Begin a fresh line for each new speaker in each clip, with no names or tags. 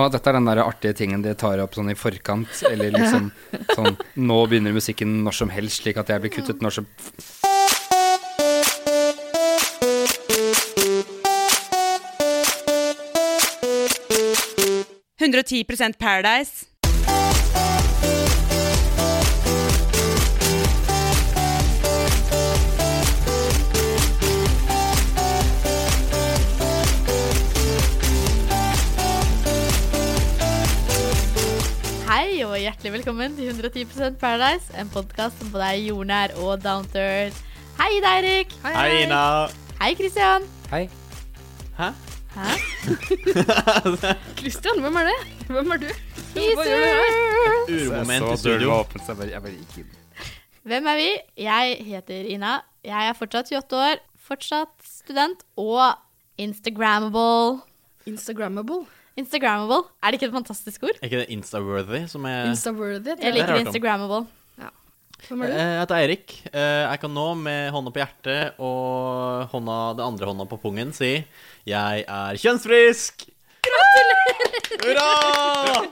Å, dette er den der artige tingen de tar opp sånn i forkant, eller liksom sånn Nå begynner musikken når som helst, slik at jeg blir kuttet når som
«110% Paradise».
Hei og hjertelig velkommen til 110 Paradise, en podkast som både er jordnær og downturn. Hei, Ida Eirik.
Hei, Ina.
Hei, Christian.
Hei.
Hæ?
Hæ?
Christian, hvem er det? Hvem er du? Hva gjør du her?
Teaser.
Uromoment i
Så døren
studio.
var åpen, så jeg bare, jeg bare gikk inn.
Hvem er vi? Jeg heter Ina. Jeg er fortsatt 28 år, fortsatt student og Instagrammable.
Instagrammable.
Instagrammable, er det ikke et fantastisk ord?
Er ikke det Insta-worthy som er
Instaworthy.
Jeg
Det har
liker
jeg hørt om.
Instagrammable.
Hvem
Eh,
er du?
Jeg heter Eirik. Eh, Jeg kan nå med hånda på hjertet og hånda, den andre hånda på pungen si jeg er kjønnsfrisk! Gratulerer! Hurra!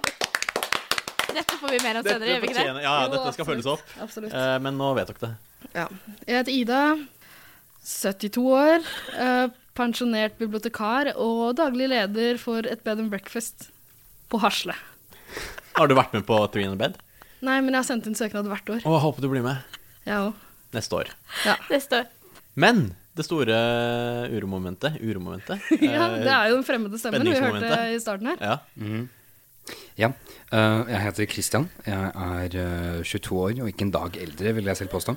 Dette får vi mer om senere,
Dette
gjør vi ikke det?
fortjener Ja, ja,
Jo,
dette skal følges
absolutt.
opp.
Absolutt.
Eh, Men nå vet dere det.
Ja. Jeg heter Ida, 72 år, eh, pensjonert bibliotekar og daglig leder for et bed and breakfast på Hasle.
Har du vært med på Three in a Bed?
Nei, men jeg har sendt inn søknad hvert
Å, jeg
år,
håper du blir med
jeg òg.
neste år.
Neste år.
Men det store uromomentet Uromomentet?
Ja, det er jo den fremmede stemmen vi hørte
spenningsmomentet.
i starten her.
Ja.
Ja. eh, jeg heter Christian. Jeg er eh, 22 år, og ikke en dag eldre, vil jeg selv påstå.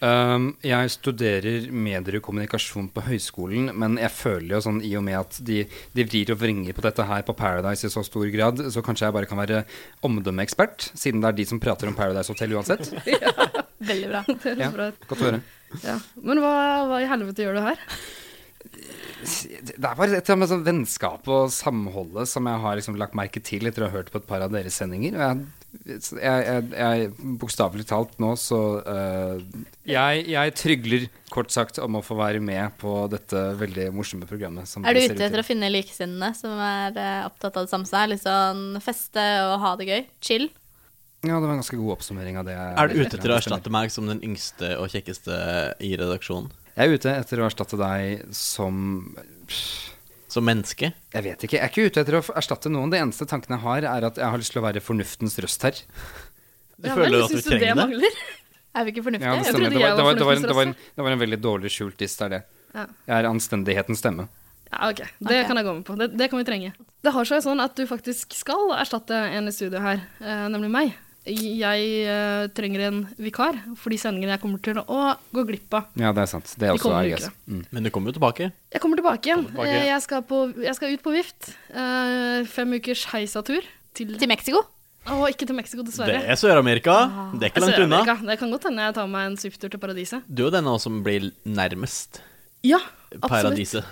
Um, jeg studerer medier og kommunikasjon på høyskolen, men jeg føler jo sånn i og med at de, de vrir og vringer på dette her på Paradise i så stor grad, så kanskje jeg bare kan være omdømmeekspert, siden det er de som prater om Paradise Hotel uansett.
Veldig bra.
Det høres
Ja.
bra ut.
Godt å høre.
Ja. Men hva, hva i helvete gjør du her?
Det det er bare et eller annet med sånn vennskap og samholdet som jeg har liksom lagt merke til etter å ha hørt på et par av deres sendinger. Og jeg, jeg, jeg, jeg Bokstavelig talt nå, så eh, jeg, jeg trygler kort sagt om å få være med på dette veldig morsomme programmet. Som
Er du
dere ser
ute etter
til.
å finne likesinnede som er eh, opptatt av det samme som deg? Litt sånn feste og ha det gøy? Chill?
Ja, det var en ganske god oppsummering av det. jeg-
Er du ute etter å erstatte meg som den yngste og kjekkeste i redaksjonen?
Jeg er ute etter å erstatte deg som
Som menneske?
jeg vet ikke. Jeg er ikke ute etter å erstatte noen. Det eneste tanken jeg har, er at jeg har lyst til å være fornuftens røst her.
Du
Ja, vel,
føler at du
synes det
trenger det?
mangler?
Er vi ikke
Ja, det
fornuftige?
stemmer. Det
trodde
var, det,
jeg var
var, det, var en, det, var en,
fornuftig
det var en veldig dårlig skjult diss, det er det.
Ja.
Jeg er anstendighetens stemme.
Ja, ok. Det
Ok.
kan jeg gå med på. Det, det kan vi trenge. Det har seg sånn at du faktisk skal erstatte en i studio her, eh, nemlig meg. Jeg eh, trenger en vikar for de sendingene jeg kommer til å gå glipp av.
Ja, det er sant. Det er
Vi
også
kommer
er
ikke,
yes. Mm.
Men du kommer jo tilbake.
Jeg kommer tilbake igjen.
tilbake.
Eh, Jeg, skal på, jeg skal ut på vift. Eh, fem ukers heisatur til
Til Mexico?
Å, ikke til Mexico,
Det
dessverre.
er Sør-Amerika. Det er ikke langt unna.
Sør-Amerika. Det kan godt hende jeg tar meg en svipptur til paradiset.
Du er jo denne også som blir nærmest
Ja, absolutt.
paradiset.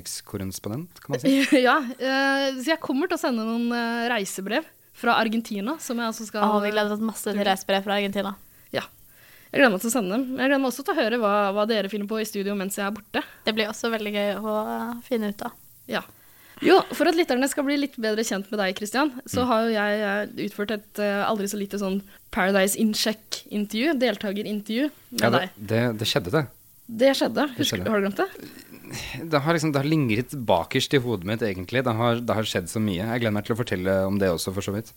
Utenrikskorrespondent, kan man si.
ja, eh, så jeg kommer til å sende noen eh, reisebrev fra Argentina, som jeg altså skal
Å, vi gleder oss masse til reisebrev fra Argentina.
Ja. Jeg gleder meg til å sende dem. Jeg gleder meg også til å høre hva, hva dere finner på i studio mens jeg er borte.
Det blir også veldig gøy å eh, finne ut av.
Ja. Jo, for at lytterne skal bli litt bedre kjent med deg, Christian, så
Mm.
har jo jeg eh, utført et eh, aldri så lite sånn Paradise in-check-intervju, deltakerintervju, med
Ja, det,
deg.
det, det skjedde, det.
Det skjedde. Husker,
skjedde.
Har du glemt det?
Det har, liksom, det har lingret bakerst i hodet mitt, egentlig. Det har, det har skjedd så mye. Jeg gleder meg til å fortelle om det også, for så vidt.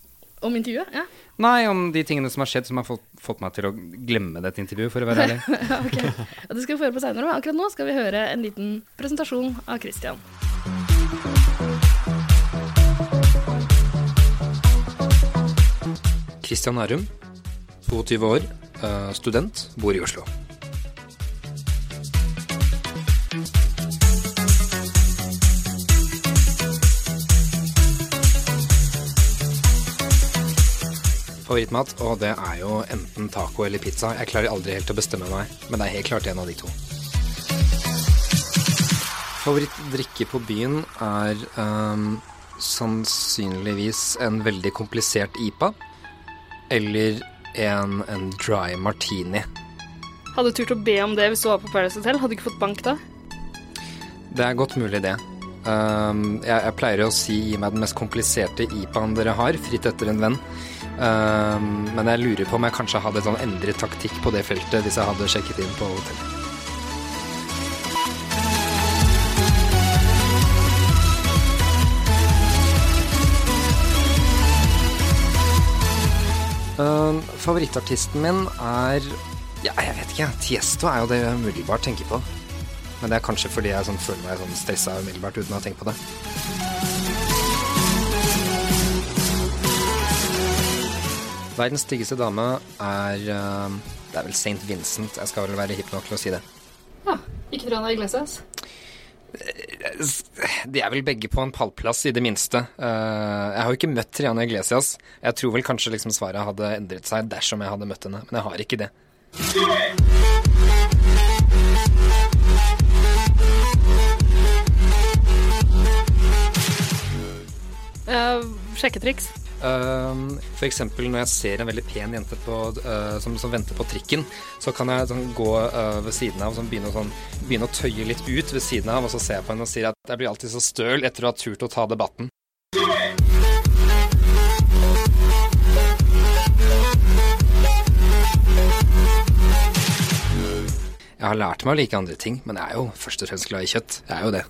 Om intervjuet? Ja.
Nei, om de tingene som har skjedd som har fått, fått meg til å glemme dette intervjuet, for å være ærlig.
ja ok. Ja, det skal vi få høre på seinere, men akkurat nå skal vi høre en liten presentasjon av Christian.
Kristian Arum, 22 år, eh, student, bor i Oslo. Favorittmat, og det er jo enten taco eller pizza. Jeg klarer aldri helt å bestemme meg, men det er helt klart en av de to. Favorittdrikke på byen er ehm, sannsynligvis en veldig komplisert IPA eller en, en dry martini.
Hadde du turt å be om det hvis du var på Paradise Hotel? Hadde du ikke fått bank da?
Det er godt mulig, det. Eh, Ehm, jeg, jeg pleier å si gi meg den mest kompliserte IPA-en dere har, fritt etter en venn. Ehm, men jeg lurer på om jeg kanskje hadde sånn endret taktikk på det feltet hvis jeg hadde sjekket inn på hotellet. Ehm, favorittartisten min er Ja, jeg vet ikke. Tiesto er jo det jeg umiddelbart tenker på. Men det er kanskje fordi jeg sånn, føler meg sånn stressa umiddelbart uten å ha tenkt på det. Verdens styggeste dame er eh, Det er vel St. Vincent. Jeg skal vel være hipp nok til å si det.
Ja, ikke Triana Iglesias.
De er vel begge på en pallplass, i det minste. Eh, jeg har jo ikke møtt Triana Iglesias. Jeg tror vel kanskje liksom svaret hadde endret seg dersom jeg hadde møtt henne, men jeg har ikke det.
Eh, sjekketriks.
Um, for eksempel når jeg ser en veldig pen jente på, uh, som, som venter på trikken, så kan jeg sånn, gå uh, ved siden av og sånn, begynne, å, sånn, begynne å tøye litt ut ved siden av, og så ser jeg på henne og sier at jeg blir alltid så støl etter å ha turt å ta debatten. Jeg har lært meg å like andre ting, men jeg er jo først og fremst glad i kjøtt. Jeg er jo det.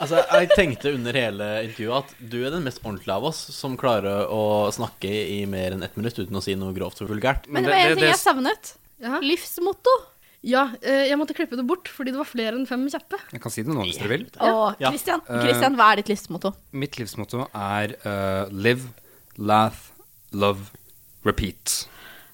Altså, Jeg tenkte under hele intervjuet at du er den mest ordentlige av oss som klarer å snakke i mer enn ett minutt uten å si noe grovt og vulgært.
Men det var én ting jeg savnet.
Ja.
Livsmotto.
Ja, eh, jeg måtte klippe det bort fordi det var flere enn fem kjappe.
Jeg kan si det nå hvis dere vil.
Å,
Ja.
Christian, Christian, hva er ditt livsmotto?
Mitt livsmotto er eh, live, laugh, love, repeat.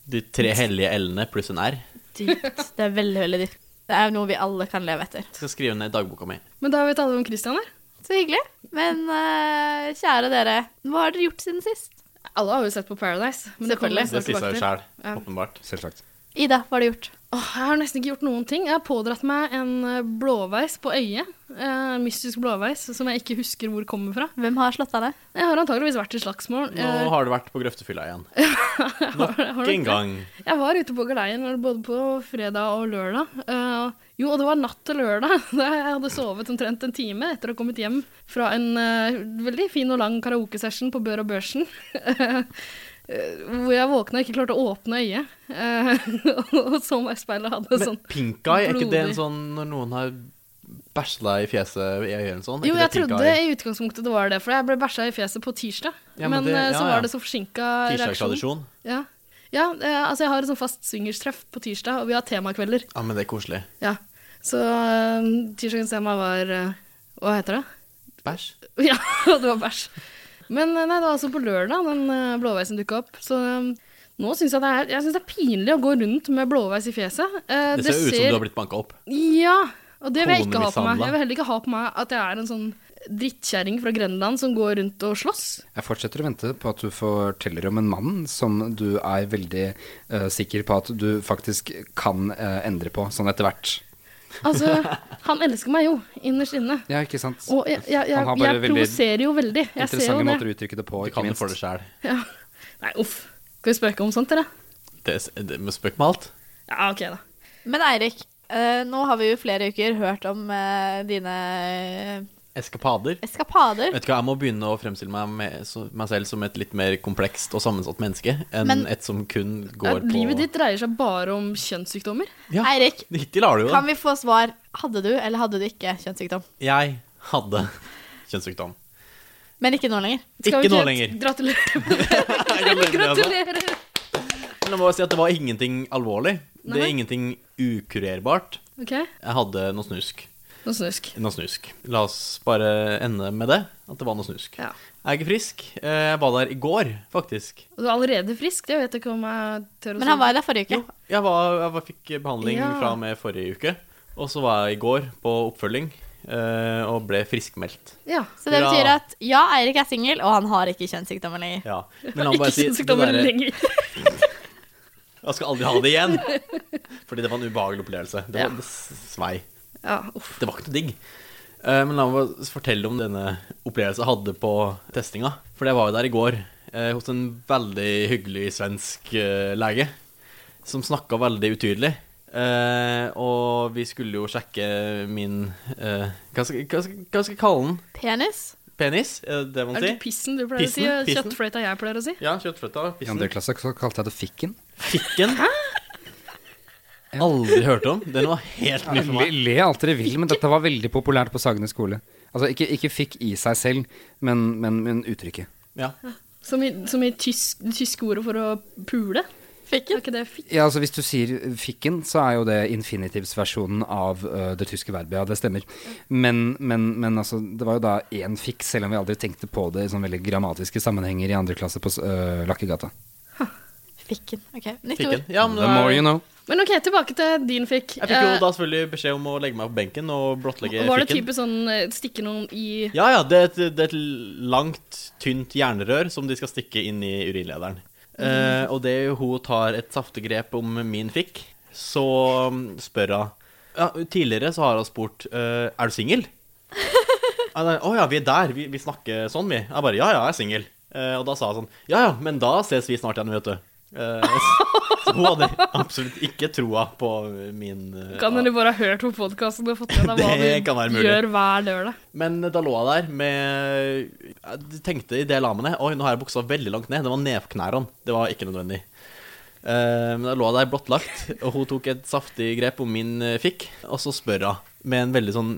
De tre hellige L-ene pluss en R.
Dypt. Det er veldig, veldig dypt. Det er jo noe vi alle kan leve etter.
Jeg skal skrive ned i dagboka mi.
Men da vet alle om Christian her.
Så hyggelig. Men eh, kjære dere, hva har dere gjort siden sist?
Alle har jo sett på Paradise. Men det kommer vi
Selvfølgelig.
Det sier seg jo
snart tilbake til.
sjæl,
Ja.
åpenbart.
Selvsagt.
Ida, hva har du gjort?
Åh, jeg har nesten ikke gjort noen ting. Jeg har pådratt meg en eh, blåveis på øyet. Eh, En mystisk blåveis som jeg ikke husker hvor kommer fra.
Hvem har slått av deg?
Jeg har antageligvis vært i slagsmål.
Nå
Eh,
har du vært på grøftefylla igjen. Nok
har du ikke?
en gang.
Jeg var ute på galeien både på fredag og lørdag. Eh, jo, og det var natt til lørdag. da Jeg hadde sovet omtrent en time etter å ha kommet hjem fra en eh, veldig fin og lang karaokesession på Bør og Børsen. Eh, hvor jeg våkna og ikke klarte å åpne øyet. Eh, og så meg i speilet og hadde
Men
sånn
pink eye, er ikke det en
blodig.
sånn når noen har bæsla i fjeset i øyet eller sånn? Er
Jo,
ikke
jeg
det pink
trodde
eye?
i utgangspunktet det var det, for jeg ble bæsja i fjeset på tirsdag.
Ja, men
men
det-
eh, så
ja, ja.
var det så forsinka reaksjon.
Tirsdagstradisjon.
Ja. Ja, eh, altså jeg har et sånn fast swingerstreff på tirsdag, og vi har temakvelder.
Ja, men det er koselig.
Ja. Så eh, tirsdagens tema var eh, Hva heter det?
Bæsj.
Ja, det var bæsj. Men eh, nei, det var altså på lørdag den eh, blåveisen dukka opp. Så eh, nå syns jeg det er Jeg synes det er pinlig å gå rundt med blåveis i fjeset. Eh,
Det ser jo ut som du har blitt banka opp.
Ja, og det vil jeg ikke ha på meg.
Konemishandla.
Jeg vil heller ikke ha på meg at jeg er en sånn drittkjerring fra Grenland som går rundt og slåss.
Jeg fortsetter å vente på at du forteller om en mann som du er veldig eh, sikker på at du faktisk kan eh, endre på, sånn etter hvert.
Altså, han elsker meg jo, innerst inne.
Ja, ikke sant?
Og jeg, jeg, jeg,
Han har
jeg,
bare veldig
provoserer jo veldig. Jeg ser
Interessante
jo
måter
det.
å uttrykke det på,
Du
ikke
kan jo for det
minst.
sjæl.
Ja. Nei, uff. Skal vi spøke om sånt, eller?
Det, det, men spøk med alt.
Ja, ok, da.
Men Eirik, eh, nå har vi jo i flere uker hørt om eh, dine
Eskapader.
eskapader.
Vet ikke hva, Jeg må begynne å fremstille meg, med, så, meg selv som et litt mer komplekst og sammensatt menneske enn
Men-
et som kun
Ja,
går på
Livet ditt dreier seg bare om kjønnssykdommer.
Ja,
Eirik,
hittil har du jo
kan
det.
vi få svar? Hadde du eller hadde du ikke kjønnssykdom?
Jeg hadde kjønnssykdom.
Men ikke nå lenger.
Skal vi
Ikke nå lenger. altså.
Gratulerer.
Gratulerer.
Gratulerer.
Men jeg må bare si at det var ingenting alvorlig. Det
Nei.
er ingenting ukurerbart.
Ok,
Jeg hadde noe snusk.
nå snusk.
Noe snusk. La oss bare ende med det. At det var noe snusk.
Ja.
Jeg er ikke frisk. Eh, Jeg var der i går, faktisk.
Og du er allerede frisk, det vet jeg ikke om jeg tør å
Men han var jo der forrige uke.
Jo, jeg, var, jeg var, fikk behandling
Ja.
fra og med forrige uke. Og så var jeg i går på oppfølging eh, og ble friskmeldt.
Ja.
Så det
Bra.
betyr at ja, Eirik er singel, og han har ikke kjønnssykdommer lenger.
Ja. Men la meg
Ikke
bare si det
kjønnssykdommer
derre-
lenger.
Jeg skal aldri ha det igjen! Fordi det var en ubehagelig opplevelse. Det var
Ja.
det s- svei.
Ja, uff.
Det var ikke noe digg. Eh, men la meg bare fortelle om denne opplevelsen jeg hadde på testinga. For jeg var jo der i går eh, hos en veldig hyggelig svensk eh, lege som snakka veldig utydelig. Eh, og vi skulle jo sjekke min eh, hva, skal, hva, skal, hva skal jeg kalle den?
Penis?
Penis? Er det det man
Er det
sier?
pissen du pleier
Pissen,
å si? og
pissen.
Kjøttfløyta jeg pleier å si?
Ja, kjøttfløyta.
I
Pissen.
andre klasse så kalte jeg det fikken.
Fikken. Aldri hørt om. Den var helt ny for
Le,
meg.
le alt dere vil, men dette var veldig populært på Sagene skole. Altså ikke, ikke fikk i seg selv, men, men, men uttrykket.
Ja.
Som i, som i tysk, det tyske ordet for å pule? Er
Fikken?
ikke det fikk?
Ja, altså Hvis du sier fikken, så er jo det infinitivsversjonen av ø, det tyske verbet. Ja, det stemmer. Men, men, men altså, det var jo da én fikk, selv om vi aldri tenkte på det i sånne veldig grammatiske sammenhenger i andre klasse på s- ø, Lakkegata.
Fikken. Ok, nytt
Fikken.
ord.
Ja, men
The more you know.
Men ok, tilbake til din fikk.
Jeg fikk jo
Eh,
da selvfølgelig beskjed om å legge meg på benken og blottlegge
var det
fikken.
type sånn eh, stikke noen i
Ja, ja, det er, et, det er et langt, tynt jernrør som de skal stikke inn i urinlederen. Eh, og det er jo hun tar et saftig grep om min fikk, så mm, spør hun ja, Tidligere så har hun spurt eh, Er du singel? Å ja, vi er der. Vi, vi snakker sånn, vi. Jeg bare Ja, ja, jeg er singel. Eh, og da sa hun sånn Ja ja, men da ses vi snart igjen, vet du. Eh, så hun hadde absolutt ikke troa på min eh,
Kan dere bare ha hørt på podkasten og fått med deg hva
Det kan være
du
mulig.
gjør hver lørdag?
Men da lå jeg der med Jeg tenkte i det jeg la meg ned Oi, nå har jeg buksa veldig langt ned. Det var ned på knærne. Det var ikke nødvendig. Eh, Men da lå jeg der blottlagt, og hun tok et saftig grep om min eh, fikk. Og så spør hun med en veldig sånn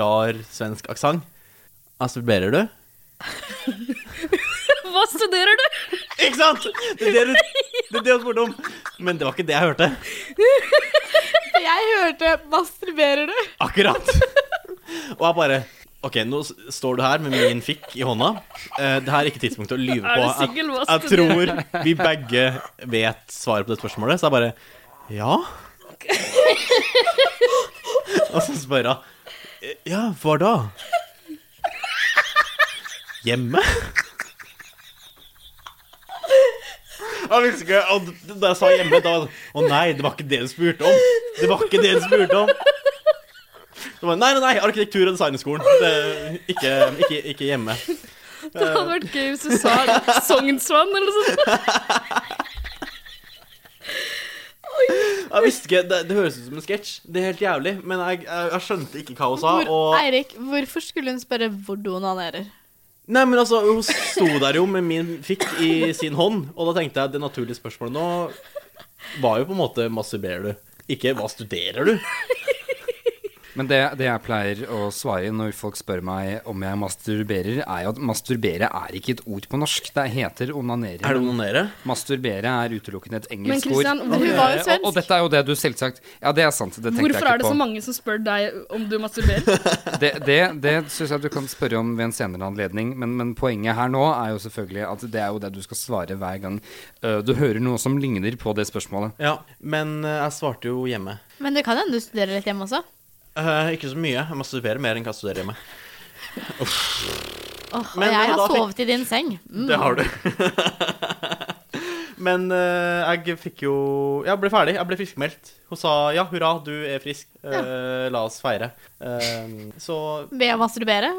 rar svensk aksent Altså, studerer du?
Hva studerer du?
Ikke sant?! Det er det hun- det er det hun spurte om. Men det var ikke det jeg hørte.
Jeg hørte 'masturberer du'?
Akkurat. Og jeg bare Ok, nå s- står du her med min fikk i hånda. Eh, det her er ikke tidspunktet å lyve på.
Er du
Jeg-
singel? Hva
Jeg
skal du
tror vi begge vet svaret på det spørsmålet, så jeg bare Ja? Og så spør hun «Eh, Ja, hvor da? Hjemme? Jeg visste ikke, og d- Da jeg sa hjemme, da Å nei, det var ikke det du spurte om. Det var ikke det du spurte om. Så bare, nei, nei, nei, arkitektur- og designskolen. Det- Ikke, ikke, ikke hjemme.
Det hadde vært gøy hvis du sa Sognsvann eller noe sånt.
Jeg visste ikke, Det, det høres ut som en sketsj. Det er helt jævlig. Men jeg, jeg, jeg skjønte ikke hva hun sa.
Hvor,
Og,
Eirik, hvorfor skulle hun spørre hvor du onanerer?
nei, men altså, Hun sto der jo med min fikk i sin hånd, og da tenkte jeg det naturlige spørsmålet nå var jo på en måte masturberer du? Ikke hva studerer du?
Men det, det jeg pleier å svare når folk spør meg om jeg masturberer, er jo at masturbere er ikke et ord på norsk. Det heter onanere.
Er det onanere?
Masturbere er utelukkende et
Men
engelsk
Christian,
ord.
hvor-
Hun var
Eh,
jo
og, og
svensk.
dette er jo det du selvsagt Ja, det er sant. Det tenkte jeg
Hvorfor
ikke
er det
på.
så mange som spør deg om du masturberer?
Det, det, det syns jeg du kan spørre om ved en senere anledning, men, men poenget her nå er jo selvfølgelig at det er jo det du skal svare hver gang øh, du hører noe som ligner på det spørsmålet.
Ja, men eh, jeg svarte jo hjemme.
Men det kan hende du studerer litt hjemme også.
Eh, ikke så mye. Jeg masturberer mer enn hva jeg studerer hjemme.
Åh, og
Men- men
jeg har
da fikk-
sovet i din seng. Mm.
Det har du. Men eh, jeg fikk jo Jeg ble ferdig. Jeg ble friskmeldt. Hun sa ja, hurra, du er frisk. Eh, La oss feire. Eh, så
Mm. Ved å masturbere.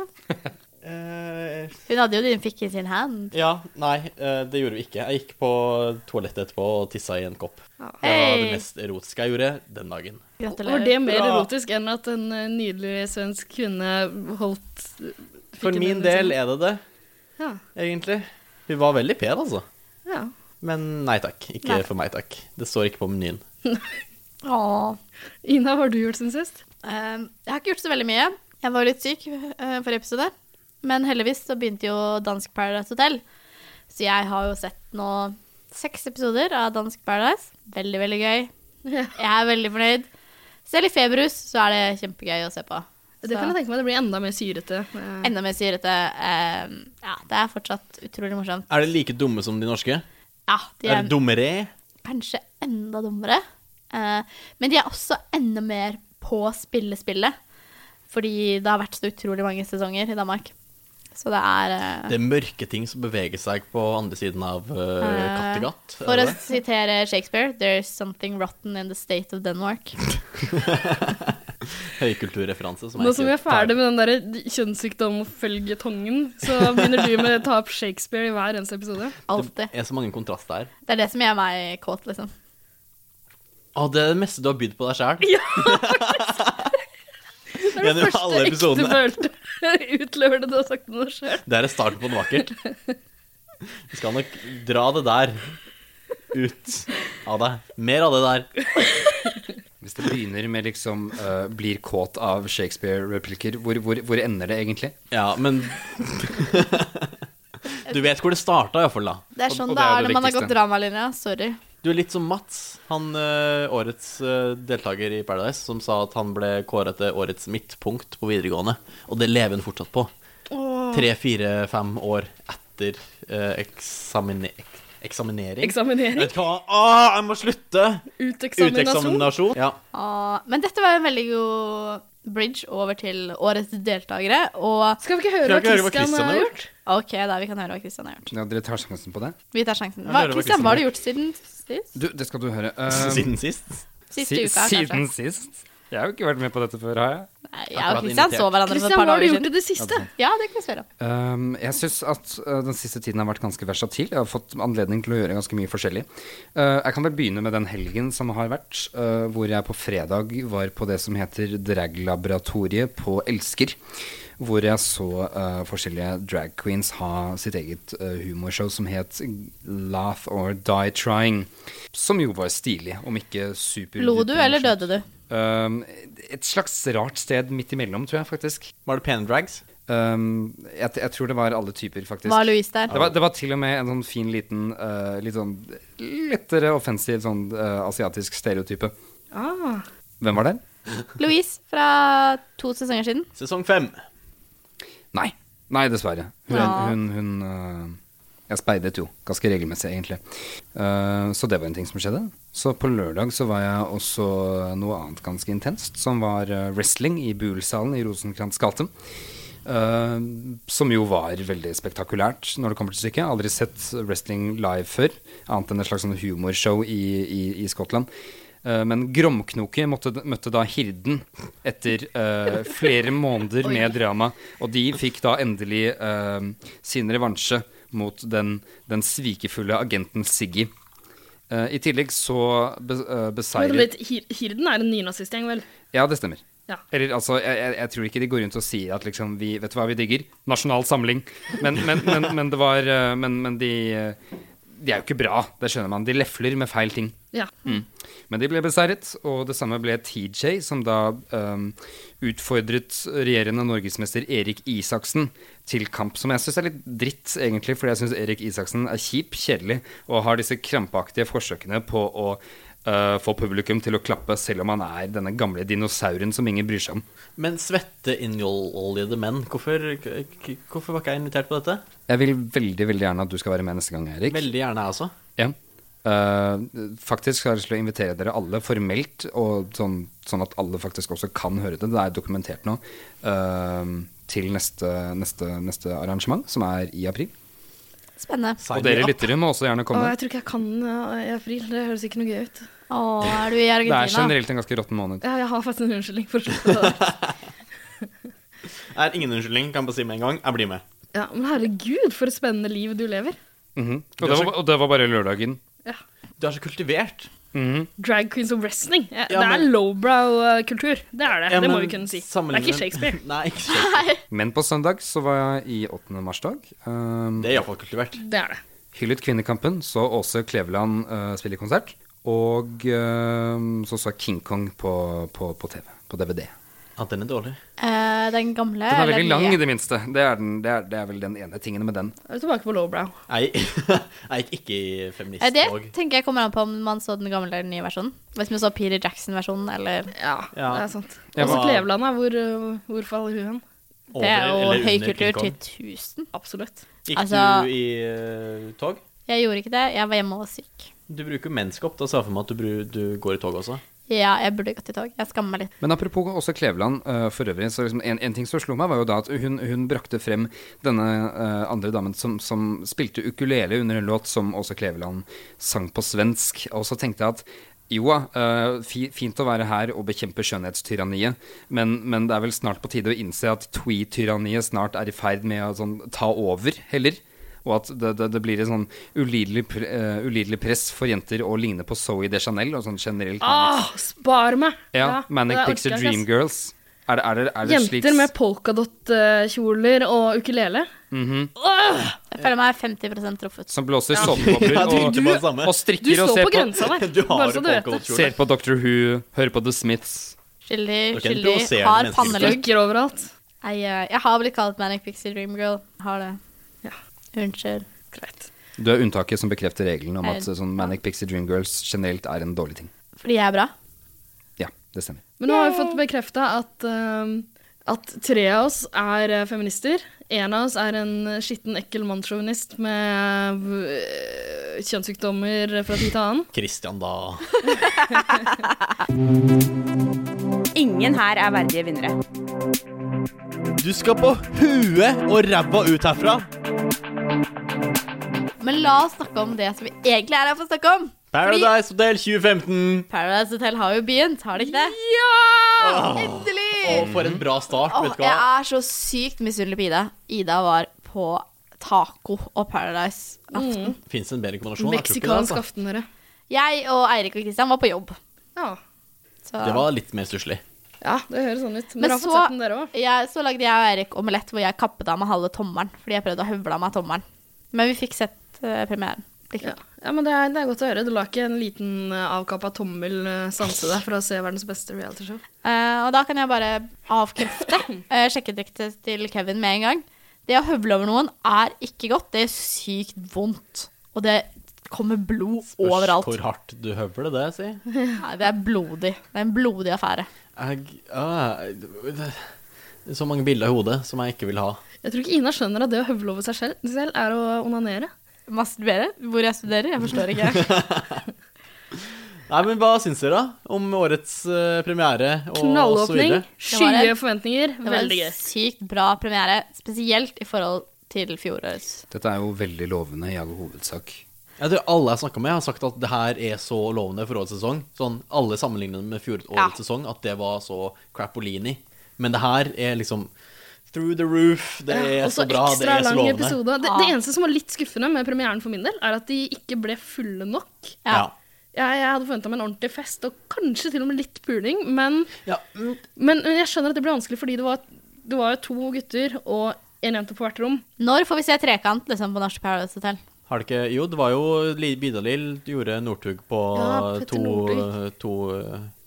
eh,
Hun hadde jo din fikk i sin hand.
Ja, nei, eh, det gjorde vi ikke. Jeg gikk på toalettet etterpå og tissa i en kopp. Det var det
Hei!
mest erotiske jeg gjorde den dagen.
Var
Gratulerer.
det mer
Bra.
erotisk enn at en eh, nydelig svensk kvinne holdt eh,
For
fikken
min
din i
del
liksom?
sin-
er det det,
Ja.
egentlig. Hun var veldig pen, altså.
ja.
Men nei takk. Ikke
Nei.
for meg, takk. Det står ikke på menyen.
Åh.
Ina, hva har du gjort siden sist?
Eh, jeg har ikke gjort så veldig mye. Jeg var litt syk eh, forrige episode. Men heldigvis så begynte jo Dansk Paradise Hotel. Så jeg har jo sett nå seks episoder av Dansk Paradise. Veldig, veldig gøy.
Ja.
Jeg er veldig fornøyd. Selv i feberhus så er det kjempegøy å se på.
Det kan jeg tenke meg. Det blir enda mer syrete. eh.
Enda mer syrete. eh, ja, det er fortsatt utrolig morsomt.
Er de like dumme som de norske?
Ja, de
Er
er
det dummere?
kanskje enda dummere. Eh, men de er også enda mer på spillespillet. Fordi det har vært så utrolig mange sesonger i Danmark. Så det er eh,
Det er mørke ting som beveger seg på andre siden av uh, Kattegat. er
eh, For å
det det?
sitere Shakespeare There's something rotten in the state of Denmark.
Høykulturreferanse. Som
Nå som vi er ferdig med den der kjønnssykdom-følgetongen, så begynner du med å ta opp Shakespeare i hver eneste episode.
Alltid.
Det er så mange kontraster her.
Det er det som gjør meg kåt, liksom.
Å, det er det meste du har bydd på deg sjæl.
Det er
Gjennom
det
alle
første ekte
episodene.
følte utløvende du har sagt noe sjøl.
Det er starten på noe vakkert. Vi skal nok dra det der ut av deg. Mer av det der.
Hvis det begynner med liksom eh, blir kåt av Shakespeare-replikker, hvor, hvor, hvor ender det egentlig?
Ja, men Du vet hvor det starta, iallfall, da.
Det er
Og-
sånn
og
det
det er jo
er
det
når man har
viktigste.
gått dramalinja. Sorry.
Du er litt som Mats, han eh, årets eh, deltaker i Paradise, som sa at han ble kåra til årets midtpunkt på videregående. Og det lever han fortsatt på. Tre, fire, fem år etter eh, eksamine ek eksaminering.
Eksaminering.
Vet du hva? Ah, jeg må slutte!
Uteksaminasjon.
Uteksaminasjon. Ja.
Ah, men dette var en veldig god bridge over til årets deltakere. Og
Skal vi ikke
Skal vi
høre hva
ikke høre hva
Christian
Christian
har
har
gjort?
OK, da vi kan høre hva Kristian har gjort.
Ja, dere tar sjansen på det?
Vi tar sjansen.
Ja,
Hva,
høre hva
Christian,
Christian
hva har
har
du gjort siden sist?
Du, det skal du høre. Eh,
Siden sist.
Siste
si-
uka,
siden
kanskje?
sist? Jeg har jo ikke vært med på dette før, har jeg?
Nei, jeg
Akkurat
og Christian
invitert.
så hverandre for
Christian,
et par
hva har du
dager
gjort i
siden.
det siste?
Ja, det kan vi spørre om.
Um, jeg syns at uh, den siste tiden har vært ganske versatil. Jeg har fått anledning til å gjøre ganske mye forskjellig. Uh, jeg kan vel begynne med den helgen som har vært, uh, hvor jeg på fredag var på det som heter Draglaboratoriet på Elsker. Hvor jeg så uh, forskjellige drag queens ha sitt eget uh, humorshow som het Laugh or Die Trying. Som jo var stilig, om ikke super
Lo du, eller døde du?
Um, et slags rart sted midt imellom, tror jeg faktisk.
Var det pene drags?
Um, jeg, jeg tror det var alle typer, faktisk.
Var Louise
Det
der?
var, det var til og med en sånn fin liten, eh, litt sånn lettere offensiv sånn eh, asiatisk stereotype.
Ah.
Hvem var der?
Louise fra to sesonger siden.
Sesong fem.
Nei. Nei, dessverre. Hun,
Ja.
hun, hun eh, Jeg speidet jo ganske regelmessig, egentlig. Eh, så det var en ting som skjedde. Så på lørdag så var jeg også noe annet ganske intenst, som var eh, wrestling i Buhl-salen i Rosenkrantz gate. Eh, som jo var veldig spektakulært når det kommer til stykket. Jeg har Aldri sett wrestling live før, annet enn et slags sånn humorshow i, i, i Skottland. Eh, men Gromknoke måtte, møtte da Hirden etter eh, flere måneder med drama. Og de fikk da endelig eh, sin revansje mot den, den svikefulle agenten Siggy. Eh, I tillegg så be, eh,
Men
beseiret
litt, Hir- Hirden er en nynazistgjeng, vel?
Ja, det stemmer.
Ja.
Eller altså, jeg, jeg, jeg tror ikke de går rundt og sier at liksom vi, Vet du hva vi digger? Nasjonal samling. Men, men, men, men det var eh, Men, men de eh, De er jo ikke bra, det skjønner man. De lefler med feil ting.
Ja.
Mm. Men de ble beseiret, og det samme ble TJ, som da ehm, utfordret regjerende norgesmester Erik Isaksen til kamp, som jeg syns er litt dritt, egentlig, fordi jeg syns Erik Isaksen er kjip, kjedelig, og har disse krampaktige forsøkene på å eh, få publikum til å klappe, selv om han er denne gamle dinosauren som ingen bryr seg om.
Men svetteinnjoljede menn, hvorfor, k- k- hvorfor var ikke jeg invitert på dette?
Jeg vil veldig veldig gjerne at du skal være med neste gang, Erik.
Veldig gjerne, jeg også.
Ja. Eh, faktisk har jeg lyst til å invitere dere alle formelt, og sånn, sånn at alle faktisk også kan høre det. Det er dokumentert nå. eh, til neste, neste, neste arrangement, som er i april.
Spennende.
Og dere lyttere må også gjerne
Å,
komme.
jeg tror ikke jeg kan eh, i april. Det høres ikke noe gøy ut.
Å, er du i
Det er
Argentina?
generelt en ganske råtten måned.
Ja, jeg har faktisk en unnskyldning for å slutte med det.
er ingen unnskyldning, kan jeg bare si med en gang. Jeg blir med.
Ja, men herregud, for et spennende liv du lever.
Mhm. og, det var, og det var bare lørdagen.
Ja.
Du er så kultivert.
Mhm.
Drag queens og wrestling.
Ja,
Eh, det er
men-
lowbrow-kultur. Det er det.
Ja,
det må
men
vi kunne si. Det er
sammenlignet-
ikke Shakespeare.
Nei, ikke Shakespeare.
Men på søndag så var jeg i 8. marsdag. Um,
Det er iallfall kultivert.
Det er det.
hyllet Kvinnekampen, så Åse Kleveland uh, spille konsert. Og eh, så så jeg King Kong på, på, på TV, på DVD.
Ja, den er dårlig.
Eh, den
Den
gamle?
er
eller
veldig lang,
nye?
i det minste. Det er, den, det, er, det er vel den ene tingen med den.
Da er vi tilbake på lowbrow.
Jeg, jeg gikk ikke i
Eh, Det
feministtog.
tenker jeg kommer an på om man så den gamle eller den nye versjonen. Hvis man så Peter Jackson-versjonen, eller
Ja,
Ja.
det er sant.
Jeg
Også
var-
Kleveland, da. Hvor, eh, hvor faller hun hen?
Over
Det er jo
eller under King
høykultur
Kong.
til 1000.
Absolutt.
Gikk
Altså-
du i eh, tog?
Jeg gjorde ikke det. Jeg var hjemme og syk.
Du bruker menskopp. Da ser jeg for meg at du, bru- du går i tog også.
Ja, jeg burde gått i tog. Jeg skammer meg litt.
Men apropos også Kleveland eh, for øvrig, så liksom en, en ting som slo meg, var jo da at hun, hun brakte frem denne eh, andre damen som, som spilte ukulele under en låt som også Kleveland sang på svensk. Og så tenkte jeg at jo da, eh, fi, fint å være her og bekjempe skjønnhetstyranniet, men, men det er vel snart på tide å innse at twee-tyranniet snart er i ferd med å sånn, ta over, heller. Og at det, det, det blir et sånn ulidelig, pre, eh, ulidelig press for jenter å ligne på Zoe de Chanel. Og sånn generelt
Ah, spar meg!
ja,
Ja,
Manic
det orker
Pixie
jeg ikke, ass.
Dream Girls. Er det, er det, er det slik
Jenter med polkadott-kjoler og ukulele.
Mhm.
Jeg føler meg 50 truffet.
Som blåser såpebobler
Ja, jeg
og,
tenkte på det samme.
og
Du
strikker og
står
ser
på
på,
grensa der,
Du har
bare så
jo
du vet det.
ser
polkadottkjole.
på Doctor Who, hører på The Smiths.
Skyldig,
Ok, det
skyldig.
provoserer
Har
mennesker.
pannelugg.
Strikker overalt.
Nei, eh, Jeg har blitt kalt Manic Pixie Dream Girl. Har det.
Ja.
Unnskyld.
Greit.
Du er unntaket som bekrefter regelen om at
Er-
sånn Manic Pixie Dream Girls generelt er en dårlig ting.
Fordi jeg er bra.
Ja, det stemmer.
Men nå har vi fått bekrefta at, ehm, at tre av oss er eh, feminister. En av oss er en skitten, ekkel mannssjåvinist med eh, kjønnssykdommer fra tid til annen.
Sånn Christian, da.
Ingen her er verdige vinnere.
Du skal på huet og ræva ut herfra.
Men la oss snakke om det som vi egentlig er her for å snakke om.
Paradise Hotel 2015.
Mm.
Paradise Hotel har jo begynt, har det ikke det?
Åh,
Endelig!
åh, for en bra start,
Åh,
vet du
jeg
hva.
er så sykt misunnelig på Ida. Ida var på taco og Paradise aften.
Fins en bedre kombinasjon? jeg tror ikke det,
Meksikansk
altså.
aften, dere.
Jeg og Eirik og Kristian var på jobb.
Ja.
Så,
Det var litt mer stusslig.
ja, det høres sånn ut. Men
Men
dere har
så-
fått sett den, dere òg.
jeg, så lagde jeg og Eirik omelett hvor jeg kappet av meg halve tommelen. Fordi jeg prøvde å høvle av meg tommelen. Men vi fikk sett eh, premieren. Det gikk
Ja. ja, men det er, det er godt å høre. Du la ikke en liten eh, avkappa tommel eh, stanse deg fra å se verdens beste realityshow.
Eh, og da kan jeg bare avkrefte uh, sjekketryktet til Kevin med en gang. Det å høvle over noen er ikke godt. Det er sykt vondt. Og det kommer blod overalt.
Hvor hardt du høvler det, si.
Nei, det er blodig. Det er en blodig affære.
Jeg, ah, det- det er så mange bilder i hodet som jeg ikke vil ha.
Jeg tror ikke Ina skjønner at det å høvle over seg selv, selv er å onanere.
Masturbere? Hvor jeg studerer? Jeg forstår ikke.
Nei, men Hva syns dere da om årets eh, premiere? Og, og så
Knallåpning,
videre?
var det.
skyhøye forventninger,
Det var
veldig gøy.
en sykt bra premiere, spesielt i forhold til fjorårets.
Dette er jo veldig lovende i all hovedsak.
Jeg tror alle jeg snakka med, har sagt at det her er så lovende for årets sesong. Sånn, Alle sammenligner det med fjorårets
Ja.
sesong, at det var så crapolini. Men det her er liksom through the roof. Det er
Og
så
så
bra, det
ekstra
er så
lang
lovende.
episode. Det,
Ja.
det eneste som var litt skuffende med premieren for min del, er at de ikke ble fulle nok.
Ja.
Ja.
Jeg, jeg hadde forventa meg en ordentlig fest, og kanskje til og med litt puling, men,
Ja. mm,
men, men jeg skjønner at det ble vanskelig, fordi det var, det var jo to gutter og en jente på hvert rom.
Når får vi se trekant liksom, på Norsk Paradise Hotel?
Har det ikke Jo, det var jo Li- Bidalil gjorde Northug på
Ja, Petter
to
Northug.
to,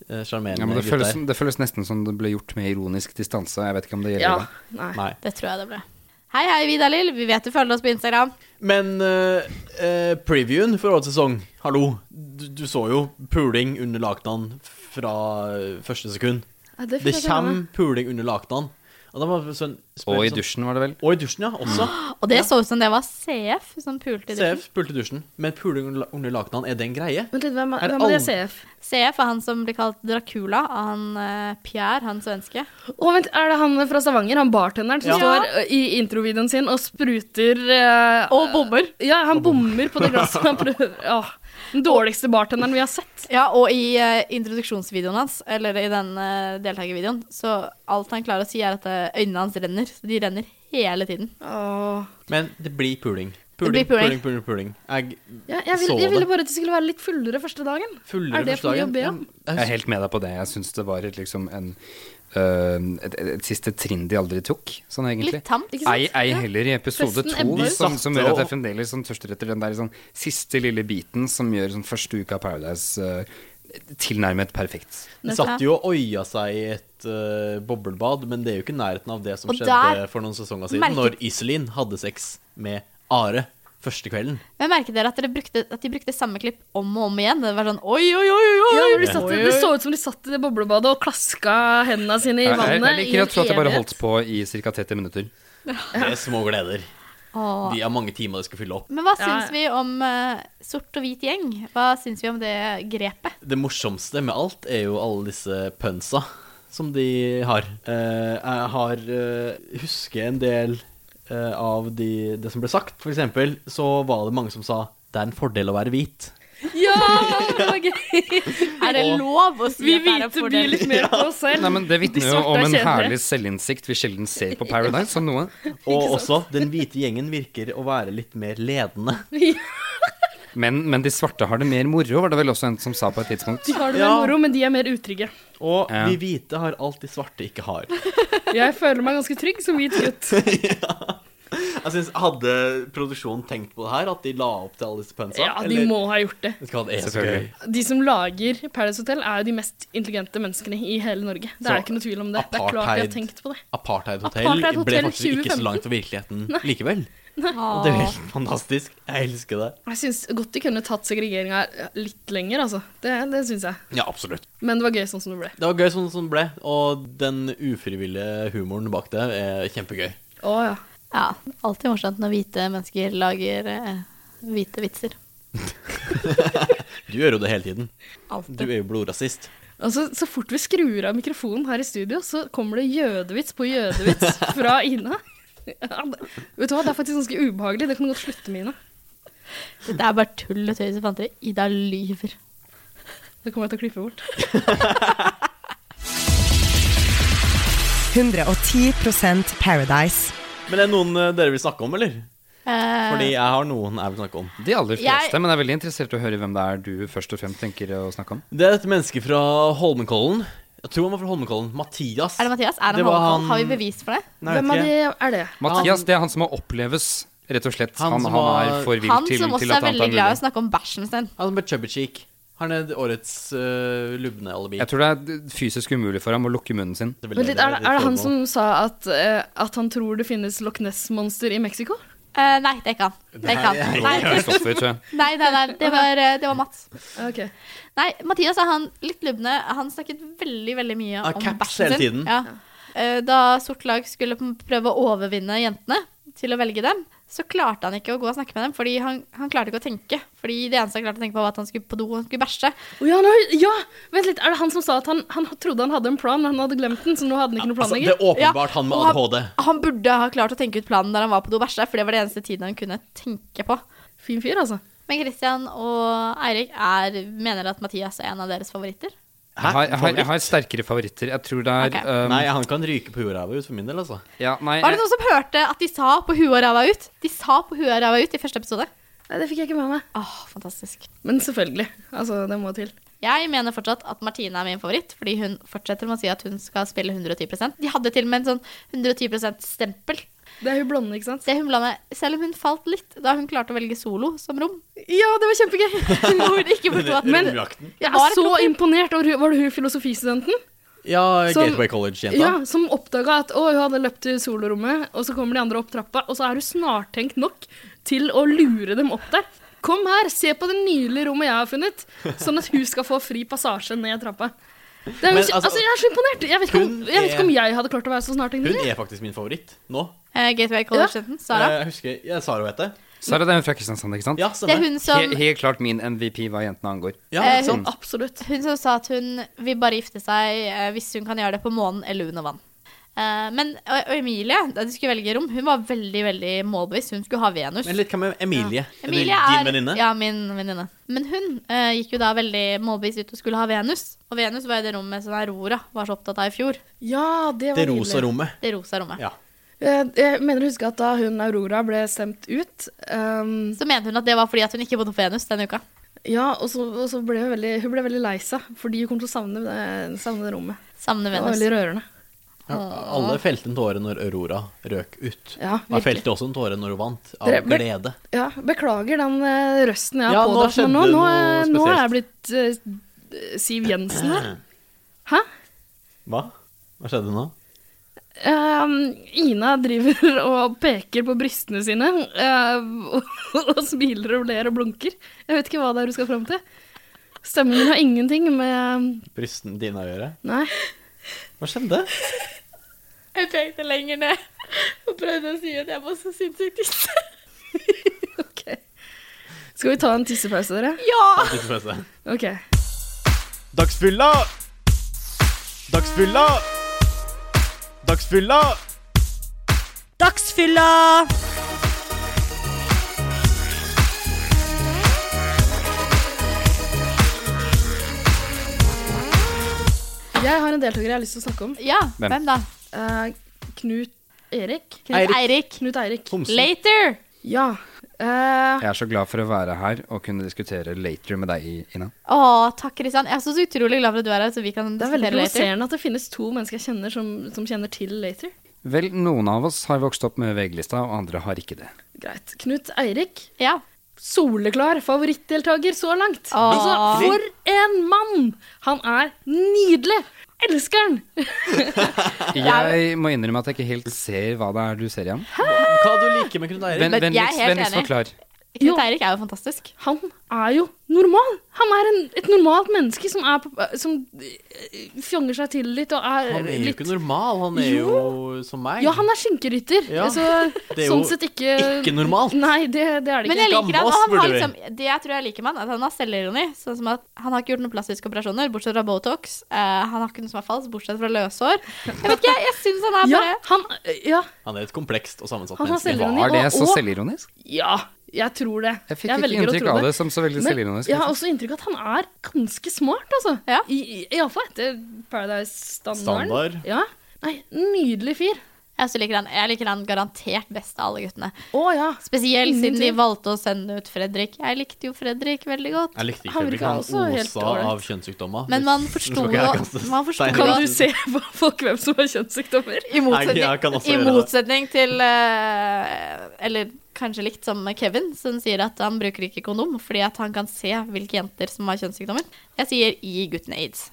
eh, sjarmerende
Ja, men det,
gutter.
føles, det føles nesten som det ble gjort med ironisk distanse. Jeg vet ikke om det
Ja,
gjelder. da.
nei.
Nei.
Det tror jeg det ble. Hei, hei, Vidar-Lill. Vi vet du følger oss på Instagram.
Men eh, eh, previewen for årets sesong, hallo. Du, du så jo puling under lakenan fra eh, første sekund.
Nei,
Det
fikk jeg ikke med meg.
kommer puling under lakenan. Og, da var det sånn,
Og i dusjen, var det vel?
Og i dusjen, ja. Også.
Og det så ut som det var CF som pulte i dusjen.
CF pulte i dusjen. Men puling under la- under lakenan, er det en greie?
Vent litt, hvem
Er
er,
det
hvem er det
alle-
CF?
CF er han som blir kalt Dracula av han eh, Pierre, han svenske.
Å, vent, er det han fra Stavanger, han bartenderen som
Ja.
står ø, i introvideoen sin og spruter eh,
Og bommer.
Ja, han bommer på det glasset han prøver. Åh, den dårligste bartenderen vi har sett.
Ja, og i eh, introduksjonsvideoen hans, eller i den eh, deltakervideoen, så alt han klarer å si, er at eh, øynene hans renner. Så de renner hele tiden.
Åh.
Men det blir puling.
blir
Puling,
puling.
puling, puling. puling. Jeg
Ja, jeg, vil,
Så
jeg
det.
ville bare at det skulle være litt fullere første dagen.
fuller
Er det for mye å be om?
Jeg er helt med deg på det. Jeg syns det var et, liksom en, øh, et, et, et siste trinn de aldri tok, sånn egentlig.
Litt tamt.
Ikke
Ei,
sant?
ei
Ja.
heller i episode
Festen
to,
ebber ut.
som, som gjør at jeg
Satte og-
fremdeles sånn, tørster etter den der sånn, siste lille biten som gjør sånn, første uka av Paradise øh, tilnærmet perfekt.
De satt jo og oia seg i et eh, boblebad, men det er jo ikke i nærheten av det som
Og der
skjedde for noen sesonger siden,
merket-
når Iselin hadde sex med Are første kvelden.
Men merket dere at, dere brukte, at de brukte samme klipp om og om igjen? Det var sånn oi, oi, oi, oi!
Ja, men de
oi,
satt,
oi,
det
oi.
så ut som de satt i det boblebadet og klaska hendene sine i
Jeg, jeg, jeg
vannet i
liker å tro at det bare
evighet.
holdt på i ca. 30 minutter.
Det er små gleder.
Åh.
De har mange timer de skal fylle opp.
Men hva
Ja,
syns
ja.
vi om eh, sort og hvit gjeng? Hva syns vi om det grepet?
Det morsomste med alt er jo alle disse pønsa som de har. Eh, jeg har eh, husker en del eh, av de, det som ble sagt. For eksempel så var det mange som sa det er en fordel å være hvit.
Ja, det var gøy!
Er det lov å si
Vi
at det er en
hvite
fordel?
blir litt mer på oss selv.
Nei, men Det
De
vitner jo
svarte
om
er
en
kjedelige.
herlig selvinnsikt vi sjelden ser på Paradise, som noe.
Og også den hvite gjengen virker å være litt mer ledende.
Men, men de svarte har det mer moro, var det vel også en som sa på et tidspunkt.
De har det vel
Ja.
moro, men de er mer utrygge.
Og
Ja.
de hvite har alt de svarte ikke har.
Jeg føler meg ganske trygg som hvit gutt.
Sånn, Altså, Jeg synes, Hadde produksjonen tenkt på det her, at de la opp til alle disse punsa?
Ja, de må ha gjort det.
Skal det er så gøy.
Selvfølgelig.
De som lager Paradise Hotel, er jo de mest intelligente menneskene i hele Norge. Det
Så
er ikke noe tvil om det. Det er klart de har
apartheid-
tenkt på det.
Apartheid Hotel
Apartheid
ble
Hotel
faktisk ikke så
2015.
langt fra virkeligheten likevel. Og
Åh.
det er jo helt fantastisk. Jeg elsker det.
Jeg syns godt de kunne tatt segregeringa litt lenger, altså. Det, det syns jeg.
Ja, absolutt.
Men det var gøy sånn som det ble.
Det var gøy sånn som det ble, og den ufrivillige humoren bak det er kjempegøy.
Å ja.
Ja, alltid morsomt når hvite mennesker lager eh, hvite vitser.
Du gjør jo det hele tiden. Du
Alltid.
er jo blodrasist.
Altså, Så fort vi skrur av mikrofonen her i studio, så kommer det jødevits på jødevits fra Ine. Ja, det, vet du hva, Det er faktisk ganske ubehagelig. Det kan du godt slutte med, Ine.
Det er bare tull og tøys og fanteri. Ida lyver.
Det kommer jeg til å klippe bort.
110 Paradise.
Men er det noen eh, dere vil snakke om, eller?
Eh,
Fordi jeg har noen jeg vil snakke om.
De aller
Jeg-
fleste, men jeg er veldig interessert i å høre hvem det er du først og fremst tenker å snakke om.
Det er dette mennesket fra Holmenkollen. Jeg tror han var fra Holmenkollen. Mathias.
er det Mathias? Er han
Det var
Holmenkollen?
han-
Har vi bevis for det?
Nei, jeg
Hvem
vet
av
ikke.
de er det?
Mathias, det er han som må oppleves, rett og slett.
Han
Han,
som
han er
var-
for vill
Han
til,
som
til at
også er
han tar
veldig glad i å
mulig.
snakke om bæsjen sin.
Han med chubby cheek. Han er årets uh, lubne alibi.
Jeg tror det er fysisk umulig for ham å lukke munnen sin.
Det vil
Men
jeg-
litt, er, det, er det han
foregår.
som sa at, eh, at han tror det finnes Loch Ness-monster i Mexico?
Eh, nei, det er ikke han. Det er ikke han. Nei,
Kristoffer, tror jeg.
nei, nei, nei det, var, eh, det var Mats.
Ah, Ok.
Nei, Mathias er han litt lubne. Han snakket veldig veldig mye
Ah,
om
caps
bæsjen
hele
sin.
tiden.
Ja. Eh, Da sort lag skulle p- prøve å overvinne jentene til å velge dem, så klarte han ikke å gå og snakke med dem, fordi han, han klarte ikke å tenke. Fordi det eneste han klarte å tenke på, var at han skulle på do og han skulle bæsje.
Å ja, nei, ja! Vent litt, er det han som sa at han, han trodde han hadde en plan, men han hadde glemt den, så nå hadde han ikke noen plan
Altså, det
lenger?
er åpenbart han med
og
ADHD.
Han, han burde ha klart å tenke ut planen der han var på do og bæsje, for det var det eneste tiden han kunne tenke på.
Fin fyr, altså.
Men Christian og Eirik er, mener at Mathias er en av deres favoritter.
Jeg har, jeg, har, jeg
Favoritt?
har sterkere favoritter. Jeg tror det er
Ok.
um,
Nei, han kan ryke på jorda vår for min del, altså.
ja, nei,
Var det noen som hørte at de sa 'på huet og ræva ut'? De sa 'på huet og ræva ut' i første episode.
Nei, det fikk jeg ikke med meg.
Åh, fantastisk.
Men selvfølgelig. Altså, det må til.
Jeg mener fortsatt at Martine er min favoritt, fordi hun fortsetter med å si at hun skal spille 110 De hadde til og med en sånn 110 %-stempel.
Det er jo blonde, ikke sant?
Det hun blanda, selv om hun falt litt da hun klarte å velge solo som rom.
Ja, det var kjempegøy!
Hvor hun ikke burde vært
Men-
Romjakten.
Jeg
Var
er
det
så
problem?
imponert over Var det hun filosofistudenten?
Ja,
Som-
Gateway College-jenta.
Ja, som oppdaga at å, hun hadde løpt til solorommet, og så kommer de andre opp trappa, og så er hun snartenkt nok til å lure dem opp der. Kom her, se på det nydelige rommet jeg har funnet, sånn at hun skal få fri passasje ned trappa. Det er, jo
Men
ikke-
altså,
altså, jeg er så imponert! Jeg vet, ikke om,
hun
jeg vet ikke om
er-
jeg hadde klart å være så snartenkt.
Hun
Hun
er faktisk min favoritt nå.
Eh, Gateway College-jenten, Sara.
Eh, Jeg husker, jeg sa det hun heter.
Sara, det er hun fra Kristiansand, ikke sant?
Ja,
Det er
stemmer.
hun som,
He, helt klart min MVP hva jentene angår.
Ja,
eh,
sånn.
hun-
Absolutt.
hun som sa at hun vil bare gifte seg eh, hvis hun kan gjøre det på månen eller under vann. Eh, men og, og Emilie, da de skulle velge rom, hun var veldig veldig målbevisst. Hun skulle ha Venus.
Men litt hva med Emilie? Er det
Emilie
din
er
venninne?
Ja, min venninne. Men hun eh, gikk jo da veldig målbevisst ut og skulle ha Venus. Og Venus var jo det rommet som Aurora var så opptatt av i fjor.
Ja, det var
Det rosa rommet.
Det rosa rommet.
Ja.
Jeg, jeg mener å huske at da hun Aurora ble stemt ut ehm,
Så mente hun at det var fordi at hun ikke bodde på Venus denne uka.
Ja, og så, og så ble hun veldig, hun ble veldig lei seg, fordi hun kom til å savne det, savne det rommet.
Savner
Det var
Venus.
veldig rørende.
Ja, Alle felte en tåre når Aurora røk ut.
Ja,
Og jeg
virkelig.
felte også en tåre når hun vant, av
Dere- men-
glede.
Ja, beklager den eh, røsten jeg har
Ja, nå
pådratt meg nå.
skjedde
Nå,
noe
eh, nå er jeg
spesielt.
blitt eh, Siv Jensen her. Hæ?
Hva? Hva skjedde nå?
Ehm, Ina driver og peker på brystene sine eh, og, og smiler og ler og blunker. Jeg vet ikke hva det er du skal fram til. Stemmen min har ingenting med
Brysten dine å gjøre?
Nei.
Hva skjedde?
Jeg pekte lenger ned og prøvde å si at jeg var så sinnssykt tisse.
Ok. Skal vi ta en tissepause, dere?
Ja!
Tissepause.
Ok.
Dagsfylla! Dagsfylla! Dagsfylla!
Dagsfylla!
Jeg har en deltaker jeg har lyst til å snakke om.
Ja,
Hvem?
hvem, da?
Eh, Knut Erik.
Knut
Eirik.
Eirik.
Knut Eirik.
Homsen.
Later!
Ja. Eh,
Jeg er så glad for å være her og kunne diskutere later med deg, Ina.
Å, takk, Kristian. Jeg er så utrolig glad for at du er her, så vi kan
det er veldig
diskutere later.
provoserende at det finnes to mennesker jeg kjenner som, som kjenner til Later.
Vel, noen av oss har vokst opp med VG-lista, og andre har ikke det.
Greit. Knut Eirik.
Ja.
Soleklar favorittdeltaker så langt.
Åh.
Altså, for en mann! Han er nydelig! Elsker han!
Jeg må innrømme at jeg ikke helt ser hva det er du ser igjen.
Hva du liker med Knut Eirik?
Ven,
Men jeg er
vennligst,
helt
vennligst
enig.
forklar.
Jo.
Knut Eirik er jo fantastisk.
Han er jo normal! Han er en, et normalt menneske som, er, på- som eh, fjonger seg til litt og er,
Han er jo
litt
ikke normal, han er jo som meg.
Ja, han er skinkerytter.
Ja.
Så
Det er jo
sånn sett ikke
ikke normal.
Nei, det, det er det
Men
ikke.
jeg liker han,
Gammel
og
oss,
han har
burde vi.
liksom, det jeg tror jeg liker med han, at han har selvironi. Sånn som at han har ikke gjort noen plastiske operasjoner, bortsett fra Botox. Eh, han har ikke noe som er falskt, bortsett fra løshår. Jeg vet ikke, jeg syns han er
Ja,
bare
han, ja,
Han er et komplekst og sammensatt
Han har
menneske.
selvironi.
Var det
Og-
så
og-
selvironisk?
ja, jeg tror det.
Jeg fikk ikke
velger å
inntrykk
tro
av det som så veldig
Men
selvironisk.
jeg har også inntrykk av at han er ganske smart, altså.
Ja.
Iallfall etter Paradise-standarden.
Standard.
Ja. Nei, nydelig fyr.
Jeg også liker han. Jeg liker han garantert best av alle guttene.
Å ja.
Spesielt
Ingen
siden de
tvil.
valgte å sende ut Fredrik. Jeg likte jo Fredrik veldig godt.
Jeg likte ikke
Han
Fredrik,
virker
han
også helt
osa
ålreit.
av kjønnssykdommer.
Men man forsto
skal ikke jeg kaste
jo man forsto
stein i
jo
Kan
at-
du se på folk hvem som har kjønnssykdommer?
I motsetning,
jeg kan også
i
gjøre det.
motsetning til eh, Eller kanskje likt som Kevin, som sier at han bruker ikke kondom fordi at han kan se hvilke jenter som har kjønnssykdommer. Jeg sier gi guttene aids.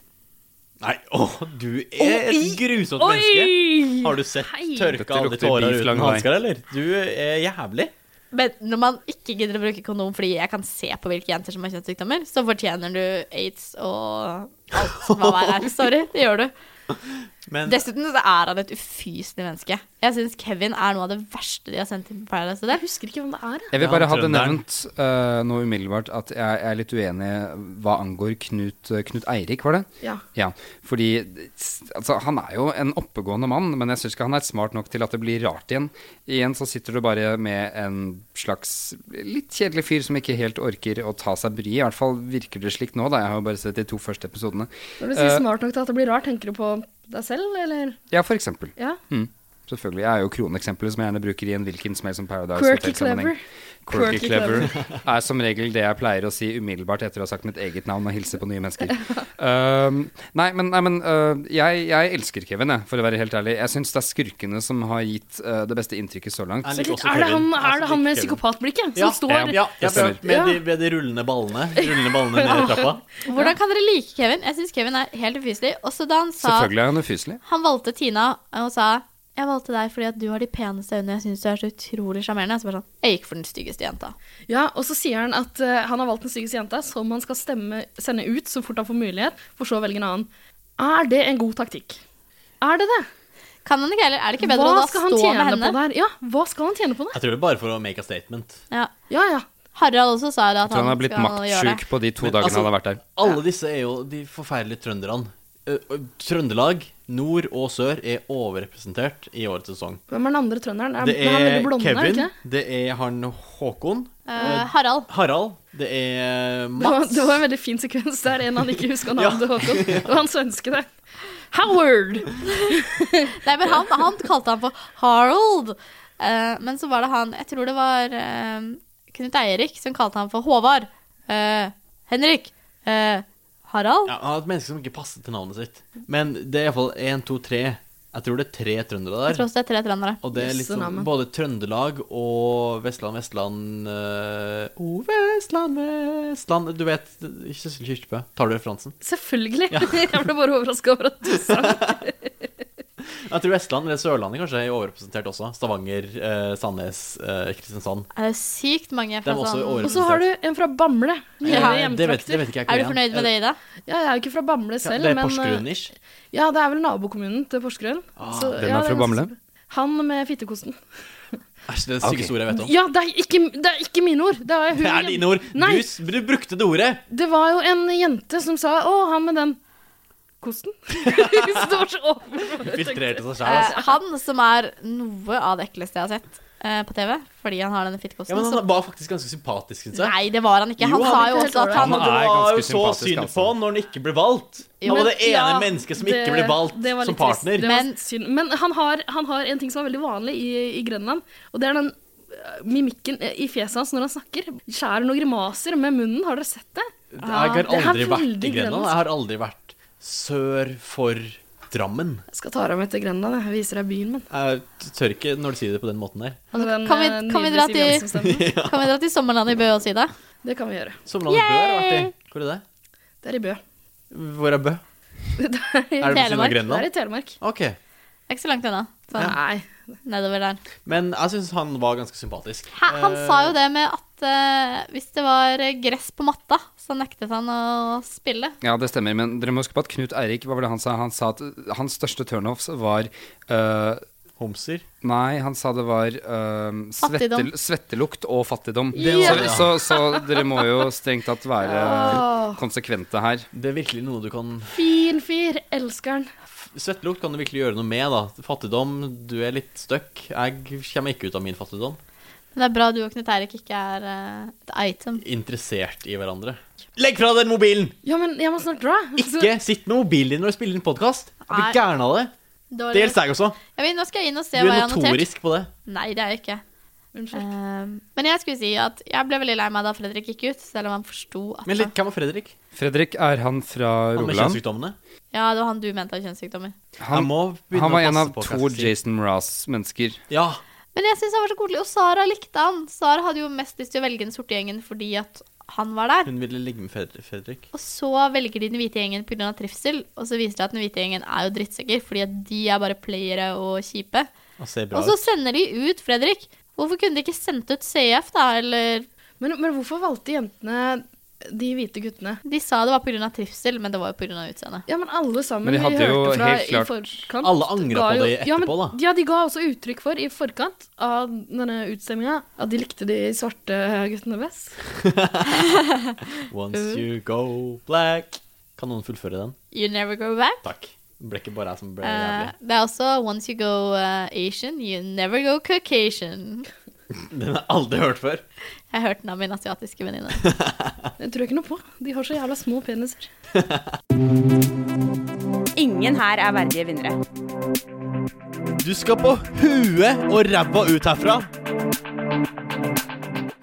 Nei, åh, du er et
Oi!
grusomt
Oi!
menneske. Har du sett
Hei.
Dette
tørka alle
lukter
tårer
beef lang
uten
vei.
hansker, eller? Du er jævlig.
Men når man ikke gidder å bruke kondom fordi jeg kan se på hvilke jenter som har kjønnssykdommer, så fortjener du aids og alt som er verre. her. Sorry, det gjør du.
Men
Dessuten så er han et ufyselig menneske. Jeg syns Kevin er noe av det verste de har sendt inn på Paradise
Jeg
Hotel.
husker ikke hvem det er. jeg.
Jeg vil
Ja,
bare ha det
trønderen.
nevnt eh, nå umiddelbart at jeg er litt uenig hva angår Knut, eh, Knut Eirik, var det?
Ja.
Ja, fordi altså, han er jo en oppegående mann, men jeg syns ikke han er smart nok til at det blir rart igjen. Igjen så sitter du bare med en slags litt kjedelig fyr som ikke helt orker å ta seg bryet. I hvert fall virker det slik nå, da. Jeg har jo bare sett de to første episodene.
Når du sier
Eh,
smart nok til at det blir rart, tenker du på deg selv, eller?
Ja, for eksempel.
Ja.
Mm. Selvfølgelig. Jeg er jo kroneksempelet som jeg gjerne bruker i en hvilken som helst som Paradise
Quirky
Hotel-sammenheng.
clever.
Quirky
Quirky
clever er som regel det jeg pleier å si umiddelbart etter å ha sagt mitt eget navn og hilse på nye mennesker. Um, nei, men, nei, men uh, jeg, jeg elsker Kevin, jeg, for å være helt ærlig. Jeg syns det er skurkene som har gitt uh, det beste inntrykket så langt.
Jeg
Er
liker
det
også
han,
Kevin. Altså,
er
Jeg
det han med
liker Kevin.
psykopatblikket som
ja,
står
ja, ja,
Altså, Det stemmer.
med,
Ja.
de, med de rullende ballene Rullende ballene ned i trappa.
Hvordan kan dere like Kevin? Jeg syns Kevin er helt ufyselig. Også da han sa
Selvfølgelig er han ufyselig.
Han valgte Tina og sa jeg valgte deg fordi at du har de peneste øynene. Jeg syns du er så utrolig sjarmerende. Så bare sånn, jeg gikk for den styggeste jenta.
Ja, og så sier han at eh, han har valgt den styggeste jenta, som han skal stemme, sende ut så fort han får mulighet, for så å velge en annen. Er det en god taktikk? Er det det?
Kan han ikke heller? Er det ikke bedre
Hva
å da
skal han
stå med
tjene på
henne?
der? Ja, hva skal han tjene på der?
Jeg tror det er bare for å make a statement.
Ja.
Ja, ja.
Harald også sa det
Jeg
at
tror
han,
han har blitt
skal gjøre det.
maktsjuk på de to
Men,
dagene
altså,
han har vært der.
Alle disse er jo de forferdelige trønderne. Ø, ø, Trøndelag, nord og sør, er overrepresentert i årets sesong.
Hvem er den andre trønderen? Er,
Det
han
er
veldig blonde, er det
Kevin,
ikke det?
det er han Håkon,
Eh, Harald.
Harald, det er
Det var,
Mats
det var en veldig fin sekvens der en han ikke huska
Ja.
navnet til Håkon. Det var han svenske, det. Howard!
Nei, men han, han kalte han for Harald. Eh, men så var det han Jeg tror det var eh, Knut Eirik som kalte han for Håvard. Eh, Henrik. Eh, Harald.
Ja, han er et menneske som ikke passer til navnet sitt. Men det er iallfall én, to, tre. Jeg tror det er tre trøndere
Jeg tror
der.
også det er tre trøndere.
Og det er litt
Jøsse
sånn
navn.
både Trøndelag og Vestland, Vestland øh, Å, Vestland, Vestland Du vet Kjøssel Kyrkjebø. Tar du referansen?
Selvfølgelig. Jeg ble bare overraska over at du sa det.
Jeg tror Vestland eller Sørlandet kanskje er overrepresentert også. Stavanger, øh, Sandnes, øh, Kristiansand.
Det er sykt mange
De
fra
er også
sånn
Og så har du en fra Bamble. Mine
Ja,
Eh, det, vet, det
hjemtrakter.
vet ikke jeg.
Er du fornøyd med det, Ida?
Ja, jeg er jo ikke fra Bamble selv,
det er
men eh,
Porsgrunn-ish.
Ja, det er vel nabokommunen til Porsgrunn.
Ah,
Så,
Hvem
ja,
er
det
fra Bamble?
Han med fittekosten.
Æsj, det er det styggeste
Ok.
ordet jeg vet om.
Ja, det er ikke, det er ikke mine ord. Det er, hun,
Sånn. Det er dine ord. Du,
Nei,
s- du brukte det ordet.
det var jo en jente som sa 'Å, han med den kosten'. så det var så åpenbart.
Filtrerte seg sjæl, altså.
Eh, han som er noe av det ekleste jeg har sett. eh, på TV fordi han har denne
Ja,
fittekosten.
men
så-
han var faktisk ganske sympatisk, syns jeg.
Nei, det var han ikke. Han
Jo,
sa
han-
jo også at
Han,
Han
han
er
var jo
ganske
så
sympatisk,
synd
altså.
på han når han ikke ble valgt. han
Jo,
var
men-
det ene
ja,
mennesket som
det-
ikke ble valgt
det var
som
litt trist.
partner.
Det var
Men-
synd. Men han har, han har en ting som er veldig vanlig i, i Grenland, og det er den øh, mimikken øh, i fjeset hans når han snakker. Skjærer noen grimaser med munnen, har dere sett det?
Jeg har
det er
aldri vært i
veldig
Grenland.
Grenland.
Jeg har aldri vært sør for Drammen.
Jeg skal ta deg med til Grenland, jeg viser deg byen min.
Jeg tør ikke når du sier det på den måten der.
Med den,
kan vi-
øh,
kan vi
nydelige
dra
Siv
til-
Jensen-stemmen.
Kan vi dra til sommerlandet i Bø også, Ida?
Det kan vi gjøre.
Sommerlandet Bø har jeg vært i. Hvor er det?
Det er i Bø.
Hvor er Bø?
Det er i,
Er det på siden av
Telemark.
det er
Grenland?
i Telemark.
Ok.
Ikke så langt unna. Sånn
Nei.
nedover der.
Men jeg syns han var ganske sympatisk.
Hæ, han
Eh,
sa jo det med at eh, hvis det var eh, gress på matta, så nektet han å spille.
Ja, det stemmer, men dere må huske på at Knut Eirik, hva var det han sa? Han sa at uh, hans største turnoffs var uh,
Homser.
Nei, han sa det var øhm, svette,
Fattigdom.
svettelukt og fattigdom.
Ja.
Så, så, så dere må jo strengt tatt være konsekvente her.
Det er virkelig noe du kan
Fin fyr. Elsker han.
Svettelukt kan du virkelig gjøre noe med, da. Fattigdom, du er litt stuck. Jeg kommer ikke ut av min fattigdom.
Men det er bra du og Knut Eirik ikke er eh, et item.
Interessert i hverandre. Legg fra den mobilen!
Ja, men Altså, jeg må snart dra.
Ikke sitt med mobilen din når du spiller inn podkast. Jeg blir
Altså- Nei.
gæren av det. Det
Dårlig.
gjelder deg også.
Jeg vet, nå skal jeg inn og
Du
se
er
hva jeg har notert.
notorisk på det.
Nei, det er jeg ikke.
Unnskyld.
Ehm, men jeg skulle si at jeg ble veldig lei meg da Fredrik gikk ut, selv om han forsto at
Men litt, hvem var Fredrik?
Fredrik, er han fra
Han med
Rogaland?
kjønnssykdommene?
Ja, det var han du mente av kjønnssykdommer.
Han,
begynne
han
å
var en
passe
av
på hva
to
jeg skal si.
Jason Mraz-mennesker.
Ja.
Men jeg syns han var så koselig, og Sara likte han. Sara hadde jo mest lyst til å velge den sorte gjengen fordi at han var der.
Hun ville ligge med Fred- Fredrik.
Og så velger de den hvite gjengen pga. trivsel, og så viser det at den hvite gjengen er jo drittsekker fordi at de er bare playere og kjipe.
Og ser bra
Og så
ut.
sender de ut Fredrik. Hvorfor kunne de ikke sendt ut CF, da? Eller
Men, men hvorfor valgte jentene de hvite guttene?
De sa det var pga. trivsel, men det var jo pga. utseendet.
Ja, men alle sammen
Men de
vi
hadde jo
hørte fra
helt klart-
i forkant
Alle angret
ga
på
jo-
det
ja, men,
etterpå, da.
Ja, de ga også uttrykk for i forkant av denne utstemminga at de likte de svarte guttene best.
Once you go black. Kan noen fullføre den?
You never go back.
Takk. Det ble ikke bare jeg som ble
Eh,
jævlig.
det er også once you go eh, Asian, you never go Caucasian.
Den har jeg aldri hørt før.
Jeg hørte den av min asiatiske venninne.
Det tror jeg ikke noe på. De har så jævla små peniser.
Ingen her er verdige vinnere.
Du skal på huet og ræva ut herfra.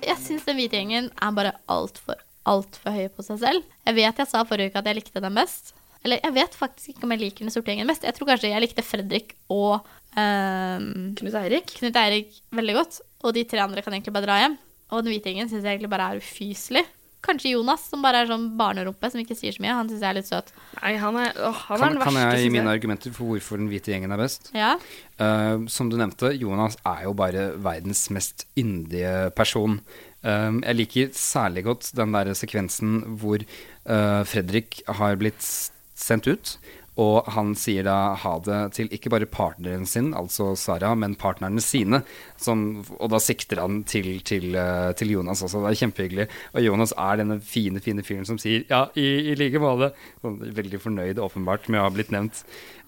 Jeg syns den hvite gjengen er bare altfor, altfor høye på seg selv. Jeg vet jeg sa forrige uke at jeg likte den best. Eller jeg vet faktisk ikke om jeg liker den sorte gjengen mest. Jeg tror kanskje jeg likte Fredrik og ehm,
Knut Eirik.
Knut Eirik veldig godt. Og de tre andre kan egentlig bare dra hjem. Og den hvite gjengen syns jeg egentlig bare er ufyselig. Kanskje Jonas, som bare er sånn barnerumpe som ikke sier så mye. Han syns jeg er litt søt.
Nei, han er, åh,
Kan,
han er den
kan
verste.
jeg
synes
gi mine argumenter for hvorfor den hvite gjengen er best?
Ja.
Eh, som du nevnte, Jonas er jo bare verdens mest yndige person. Um, jeg liker særlig godt den der sekvensen hvor eh, Fredrik har blitt s- sendt ut. Og han sier da ha det til ikke bare partneren sin, altså Sara, men partnerne sine. Som, og da sikter han til, til, eh, til Jonas også. Det er kjempehyggelig. Og Jonas er denne fine, fine fyren som sier ja, i, i like måte. Sånn, Veldig fornøyd åpenbart med å ha blitt nevnt.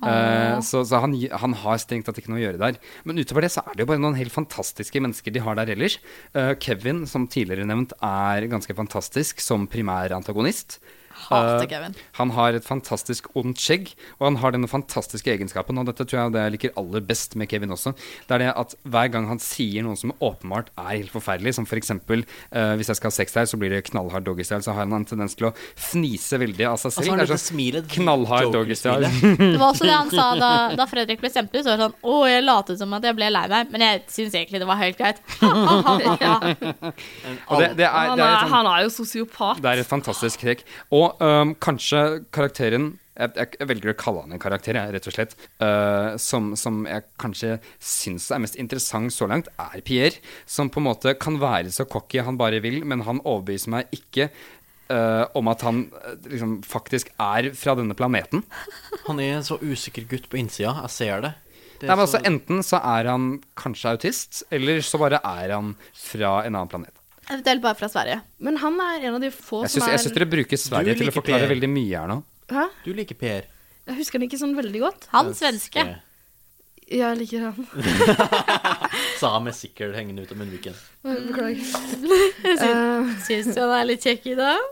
Eh, så så han, gi- han har strengt tatt ikke noe å gjøre der. Men utover det så er det jo bare noen helt fantastiske mennesker de har der ellers. Eh, Kevin, som tidligere nevnt, er ganske fantastisk som primærantagonist.
Hater
Eh,
Kevin.
Han har et fantastisk ondt skjegg, og han har denne fantastiske egenskapen, og dette tror jeg er det jeg liker aller best med Kevin også, det er det at hver gang han sier noe som åpenbart er helt forferdelig, som for eksempel eh, hvis jeg skal ha sex her, så blir det knallhard doggystyle, så har han en tendens til å fnise veldig av seg
Altså,
selv. Det
har han
er
dette
sånn
smilet?
knallhard doggystyle.
Joker-smilet.
Det var også det han sa da, da Fredrik ble sendt ut. Så var det sånn Å, jeg lot som at jeg ble lei meg, men jeg syns egentlig det var helt greit. Ha, ha, ha, ha.
Og det, det er,
han,
det er
er,
et sånt-
han er jo sosiopat.
Det er et fantastisk trekk. Og øhm, kanskje karakteren jeg, jeg, jeg velger å kalle han en karakter, jeg, rett og slett. øh, som, som jeg kanskje syns er mest interessant så langt, er Pierre. Som på en måte kan være så cocky han bare vil, men han overbeviser meg ikke øh, om at han øh, liksom, faktisk er fra denne planeten.
Han er en så usikker gutt på innsida. Jeg ser det. Det
Nei, men altså,
så-
enten så er han kanskje autist, eller så bare er han fra en annen planet.
Eventuelt bare fra Sverige.
Men han er en av de få
Jeg syns
som er
jeg syns dere bruker Sverige til å
liker
forklare
Pierre.
veldig mye her nå.
Hæ?
Du liker Per.
Jeg husker han ikke sånn veldig godt.
Han svenske.
Jeg liker han.
Sa med sikkel hengende ut om munnviken.
Beklager.
Syns du han er litt kjekk i dag?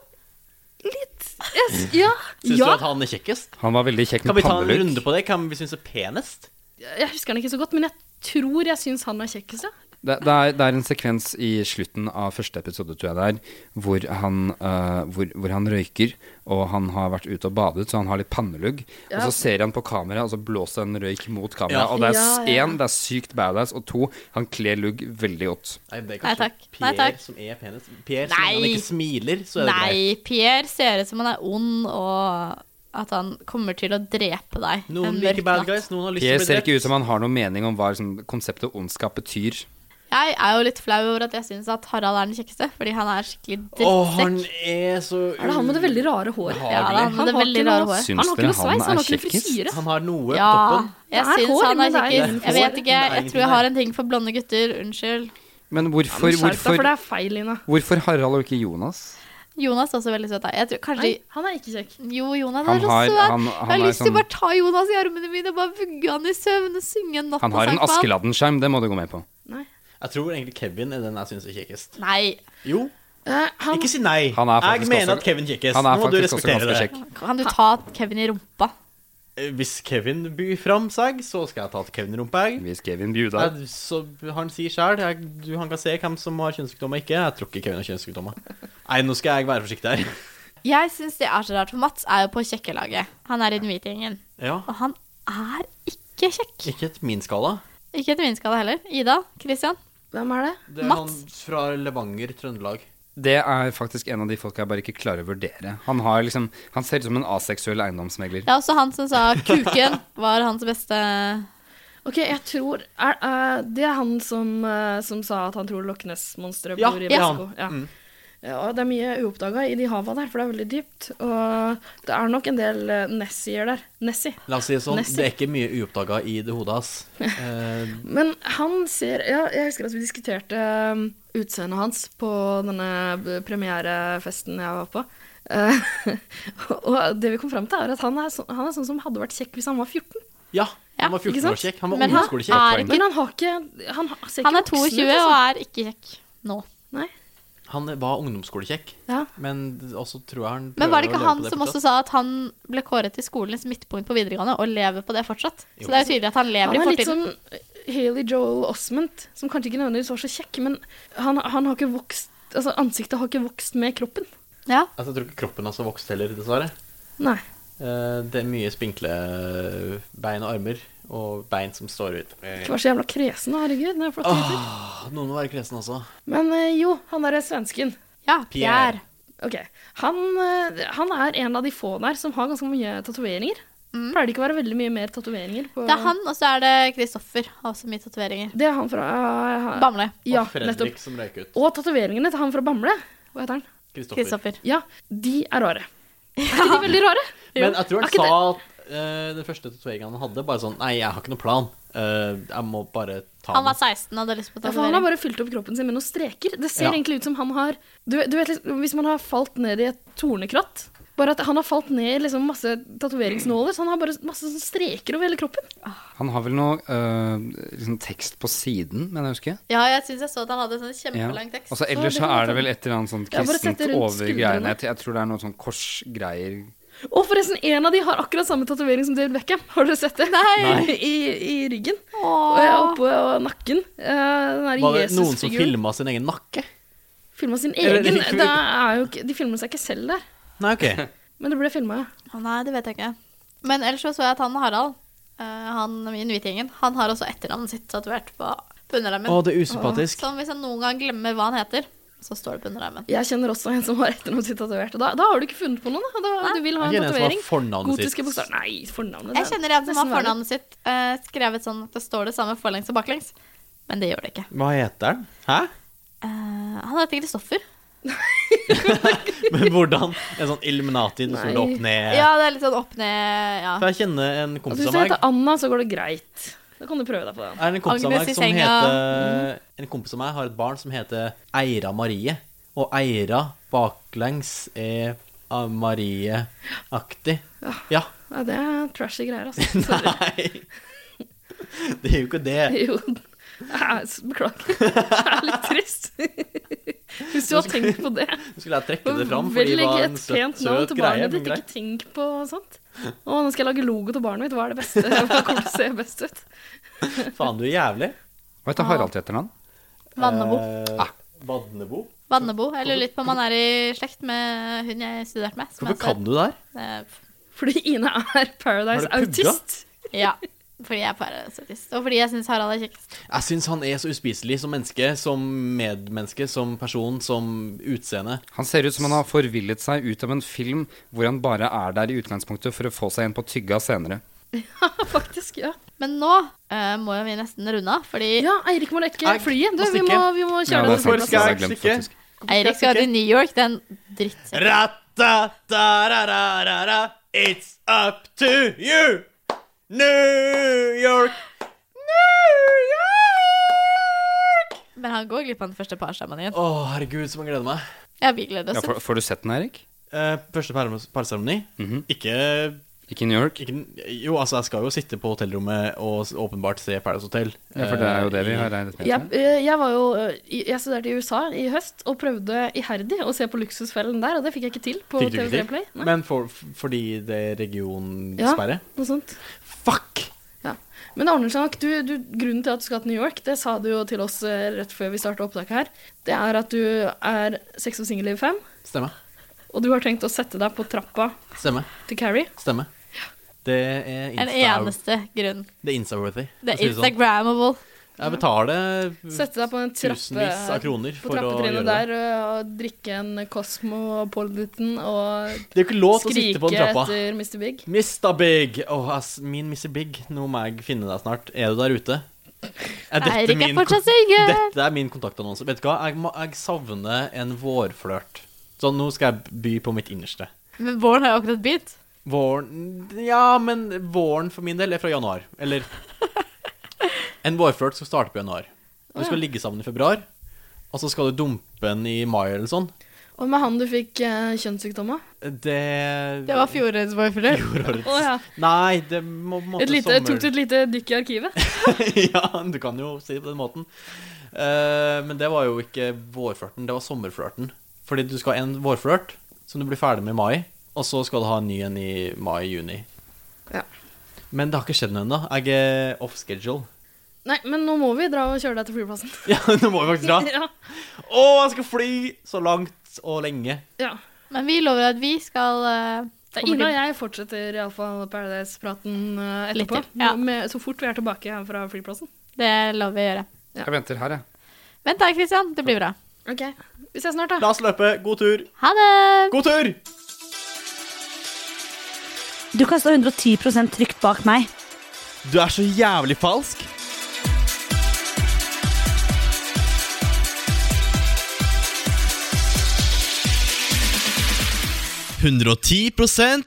Yes,
Mm.
ja.
Syns
ja.
du at han er kjekkest?
Han var veldig kjekk
Kan
med
vi ta en
pannelugg.
runde på det? Kan vi synes det er penest?
Jeg husker han ikke så godt, men jeg tror jeg syns han er kjekkest, ja.
Det, det, er, det er en sekvens i slutten av første episode, tror jeg det er, hvor han, eh, hvor, hvor han røyker, og han har vært ute og badet, så han har litt pannelugg. Og
Ja.
så ser han på kamera, og så blåser han røyk mot kamera.
Ja.
Og det er
Ja,
én,
ja.
det er sykt badass, og to, han kler lugg veldig godt.
Nei, det er
Nei,
kanskje
takk. Nei,
Pierre
takk.
som er penest. Pierre, så lenge han
Nei.
ikke smiler, så er det greit.
Nei, Pierre ser ut som han er ond, og at han kommer til å drepe deg.
Noen
en
liker
mørk
bad
natt.
guys, noen har lyst til å
Pierre
bli
ser
drept.
ikke ut som han har noen mening om hva liksom, konseptet ondskap betyr.
Jeg er jo litt flau over at jeg syns at Harald er den kjekkeste, fordi han er skikkelig
Å, han
drittsekk.
er så
Er det han med det veldig rare håret?
Behagelig.
Ja, da, han
Han
hadde
har
veldig
ikke
rare
noe-
hår.
Syns
Han har ikke
dere
noe sveis,
han
han
er
har ikke noe
kjekkest?
frisyre.
Han har noe
Ja,
på toppen.
jeg
Det er
syns
hår,
han
men
er
det er
kjekkest.
ingen
Jeg
hår.
vet ikke,
Det er
jeg
ingenting
tror jeg
der.
har en ting for blonde gutter. Unnskyld.
Men
Ja,
hvorfor,
men skjerp deg,
hvorfor,
for det er feil, Lina.
hvorfor Harald og ikke Jonas?
Jonas er også veldig søt. da. Jeg tror kanskje
Nei, han er ikke kjekk.
Jo, Jonas
Han
er så
har-
søt.
han-
jeg
han
har
er
lyst til
sånn-
å bare ta Jonas i armene mine og bare vugge han i søvn og synge en natt
Han har en Askeladden-skjerm, det må du gå med på.
Nei.
Jeg tror egentlig Kevin er den jeg syns er kjekkest.
Nei,
Jo,
Eh, han,
ikke si nei.
Han er
Jeg
faktisk
mener
også-
at Kevin er kjekkest.
Han er
Nå må du
faktisk også
respektere
ganske
det.
kjekk.
kan du ta Kevin i rumpa?
Eh, Hvis Kevin byr fram seg, så skal jeg ta til Kevin rumpa, jeg.
Hvis Kevin Bjuda
Jeg- Så han sier sjøl. Han kan se hvem som har kjønnssykdommer og ikke. Jeg tror ikke Kevin har kjønnssykdommer. Nei, nå skal jeg være forsiktig her.
Jeg syns det er så rart, for Mats er jo på kjekkelaget. Han er i den hvite gjengen.
Ja,
Og han er ikke kjekk.
Ikke etter min skala.
Ikke etter min skade heller. Ida? Christian?
hvem er det?
Det er
Mats?
han fra Levanger, Trøndelag.
Det er faktisk en av de folka jeg bare ikke klarer å vurdere. Han, har liksom, han ser ut som en aseksuell eiendomsmegler.
Det er også han som sa kuken var hans beste
Ok, jeg tror er, eh, Det er han som, eh, som sa at han tror Loch Ness-monsteret
Ja,
bor i
det er
Mexico.
han.
Ja.
Mm.
Ja, og det er mye uoppdaga i de hava der, for det er veldig dypt. Og det er nok en del eh, Nessier der. Nessie.
La oss si det sånn,
Nessie.
det er ikke mye uoppdaga i det hodet hans. Eh,
Men han ser ja, Jeg husker at vi diskuterte um, utseendet hans på denne b- premierefesten jeg var på. Eh, og det vi kom fram til, er at han er, så, han er sånn som hadde vært kjekk hvis han var 14.
ja,
Ja,
han var
ikke
14
sant?
år kjekk. Han var
Men han Ah.
ungdomsskolekjekk.
er liksom. ikke
Men han har ikke Han, har- ser ikke
Han er
voksen ut,
22 og
altså.
er ikke kjekk nå.
Nei.
Han var ungdomsskolekjekk,
Ja.
men også tror jeg han
Men var det ikke
prøver å leve
han
på det
som også
fortsatt.
sa at han ble kåret til skolens midtpunkt på videregående, og lever på det fortsatt?
Jo.
Så det er jo tydelig at han lever
Han
i
er litt
fortiden.
som Haley Joel Osment, som kanskje ikke nødvendigvis var så kjekk, men han, han har ikke vokst Altså, ansiktet har ikke vokst med kroppen.
sånn- Ja.
Altså, Jeg tror ikke kroppen hans har vokst heller, dessverre.
Nei.
Eh, det er mye spinkle bein og armer, og bein som står ut.
Ikke vær så jævla kresen, da, herregud. Det er flott. gutter.
Ah, Noen må være kresen også.
Men eh, jo, han derre svensken.
ja, Pierre.
Pierre.
Ok. Han, eh, han er en av de få der som har ganske mye tatoveringer. Pleier det ikke å være veldig mye mer tatoveringer på
Mm. Det er han, og så er det Kristoffer. Har også mye tatoveringer.
Det er han fra eh,
Bamble.
Ja,
og Fredrik
nettopp.
som røyk ut.
Og tatoveringene til han fra Bamble. Hva heter han?
Kristoffer.
Kristoffer.
Ja, de er rare. Er ikke de veldig rare?
Men jeg tror
Er
han
ikke
sa at eh, den første tatoveringen han hadde, bare sånn Nei, jeg har ikke noen plan. Eh, jeg må bare ta
Han
den.
var 16 og hadde lyst på
Ja, for han har
tatovering.
bare fylt opp kroppen sin med noen streker. Det ser
Ja.
egentlig ut som han har du, du vet, liksom, Hvis man har falt ned i et tornekratt Bare at han har falt ned i liksom masse tatoveringsnåler, så han har bare masse sånn streker over hele kroppen.
Han har vel noe øh, liksom tekst på siden, mener jeg å huske.
Ja, jeg syns jeg så at han hadde sånn
Ja.
kjempelang tekst.
Altså, ellers
det
så
kan
er det
være.
vel et eller annet sånt
Ja, bare sett
kristent
det rundt
over
skuldrene.
greiene. Jeg, jeg tror det er noe sånn korsgreier.
Og forresten, en av de har akkurat samme tatovering som David Beckham. Har dere sett det?
Nei.
I, i ryggen. Og
Åh.
oppe og nakken. Eh, Den der
Var det noen som
Jesus-figuren.
filma sin egen nakke?
Filma sin
Eller-
egen. Det er jo ikke, de filmer seg ikke selv der.
Nei, ok.
Men det ble filma, ja.
Å, Nei, det vet jeg ikke. Men ellers så så jeg at han Harald, eh, han i Hvitgjengen, han har også etternavnet sitt tatovert på på underarmen.
Å, det er usympatisk.
Sånn hvis jeg noen gang glemmer hva han heter, så står det på underarmen.
Jeg kjenner også en som har etternavnet sitt tatovert. Og da, da har du ikke funnet på noen, da. da du vil ha
Jeg kjenner en som har
en tatovering.
fornavnet sitt.
Gotiske bokstaver. Nei, fornavnet
Jeg
det-
kjenner en som har
nesten verre.
fornavnet sitt eh, skrevet sånn at det står det samme forlengs og baklengs, men det gjør det ikke.
Hva heter den? Hæ?
Eh, han heter Kristoffer.
Men hvordan? En sånn Illuminati, det står
Nei.
opp ned
Ja, det er litt sånn opp ned ja.
For jeg kjenner en
Altså,
kompis
hvis
av
du
meg
heter Anna, så går det greit. Da kan du prøve deg på den.
er en kompis av
Agnes
meg
i
som
senga.
Mhm.
heter En kompis av meg har et barn som heter Eira Marie. Og Eira baklengs er av Marie-aktig. Ja.
Ja, det er trashy greier, altså.
Nei. Det er jo ikke det.
Jo. Eh, s- Beklager. Det er litt trist. Hvis du har tenkt på det.
Nå skulle jeg trekke det fram,
Vel
fordi det var
legge
en
et pent
søt,
navn
søt
til
greie.
barnet
Men
ditt.
greit.
Ikke tenk på sånt. Å, nå skal jeg lage logo til barnet mitt. Hva er det beste? Hva kommer til å se best ut?
Faen, du er jævlig.
Hva heter Harald til etternavn?
Vannebo.
Eh,
Ah.
Vadnebo?
Vannebo. Jeg lurer litt på om han er i slekt med hun jeg studerte med. som jeg
Hvorfor kan du det her?
ser. Eh,
Fordi Ine er
Har du pugga?
Paradise-autist.
Ja. Fordi jeg er parasitist. Og fordi jeg syns Harald er kjekkest.
Jeg syns han er så uspiselig som menneske, som medmenneske, som person, som utseende.
Han ser ut som han har forvillet seg ut av en film hvor han bare er der i utgangspunktet for å få seg en på tygga senere.
Ja, faktisk. Ja,
Men nå eh, må jo vi nesten runde av, fordi
ja Eirik må rekke
Eirik
flyet. Du,
må
vi,
stikke.
må, vi må
Ja,
kjøre
det er
det til
sant.
plassen.
Det har jeg glemt, faktisk.
Eirik skal til New York. Den dritt...
Ra-ta-ta-ra-ra-ra-ra. It's up to you, New York.
Men han går glipp av den første parseremonien.
Å, herregud, som jeg gleder meg.
Ja, vi gleder
Ja,
oss.
får, får du sett den, Erik?
Eh, første par- parseremoni. Ikke
Ikke i New York?
ikke, jo, altså, jeg skal jo sitte på hotellrommet og s- åpenbart se Paradise Hotel.
Ja, for det er jo det vi har regnet med.
Jeg, eh, jeg, var jo, eh, i- jeg studerte i USA i høst og prøvde iherdig å se på Luksusfellen der, og det fikk jeg ikke til på
Fikk du ikke
TV3
til?
Play. Nei.
Men for, fordi det er regionsperre?
Noe sånt.
Fuck!
Ja. Men Arnoldsnak, du, du, grunnen til at du skal til New York, det sa du jo til oss eh, rett før vi starta opptaket her, det er at du er sex og singelliv fem,
Stemmer.
og du har tenkt å sette deg på trappa
Stemmer.
til Carrie.
Stemmer. Det er
Den
insta,
eneste grunnen.
det er insta-worthy. for
Det
å
er
si det sånn.
Instagrammable.
Jeg betaler
Sette deg på en
Mm.
trappe,
tusenvis av kroner
på
for å gjøre
trappetrinnet
det.
der eh, og drikke en Cosmo og Polditon og
Det er jo ikke lov til å sitte på
skrike
den trappa.
etter Mr. Big.
Mr. Big! Åh, ass, min Mr. Big, nå må jeg finne deg snart. Er du der ute? Er dette
Eirik er
min kon-
fortsatt singel!
Dette er min kontaktannonse. Vet du hva, jeg, må, jeg savner en vårflørt. Så nå skal jeg by på mitt innerste.
Men våren har jo akkurat begynt.
Våren Ja, men våren for min del er fra januar. Eller En vårflørt skal starte på januar. Du skal ligge sammen i februar, og så skal du dumpe den i mai eller sånn.
Og med han du fikk eh, kjønnssykdom av.
Det
Det var fjorårets boyfriend.
fjorårets.
Å ja.
Nei, det må på en måte
Et lite,
sommer-
tok du et lite dykk i arkivet?
ja, du kan jo si det på den måten. Eh, men det var jo ikke vårflørten, det var sommerflørten. Fordi du skal ha en vårflørt som du blir ferdig med i mai, og så skal du ha en ny en i mai-juni.
Ja.
Men det har ikke skjedd noe ennå. Jeg er off schedule.
Nei, men nå må vi dra og kjøre deg til flyplassen.
Ja, nå må vi faktisk dra.
Ja.
Å, jeg skal fly så langt og lenge.
ja.
Men vi lover at vi skal eh,
Det er
kommer
Ina og
til-
jeg fortsetter iallfall Paradise-praten eh,
Litt
etterpå.
til, ja.
med, så fort vi er tilbake her fra flyplassen.
Det lover vi å gjøre.
Jeg venter her, jeg.
Vent da, Kristian. Det blir bra.
Ok, Vi ses snart, da.
La oss løpe. God tur.
Ha det!
God tur!
Du kan stå 110 trygt bak meg.
Du er så jævlig falsk.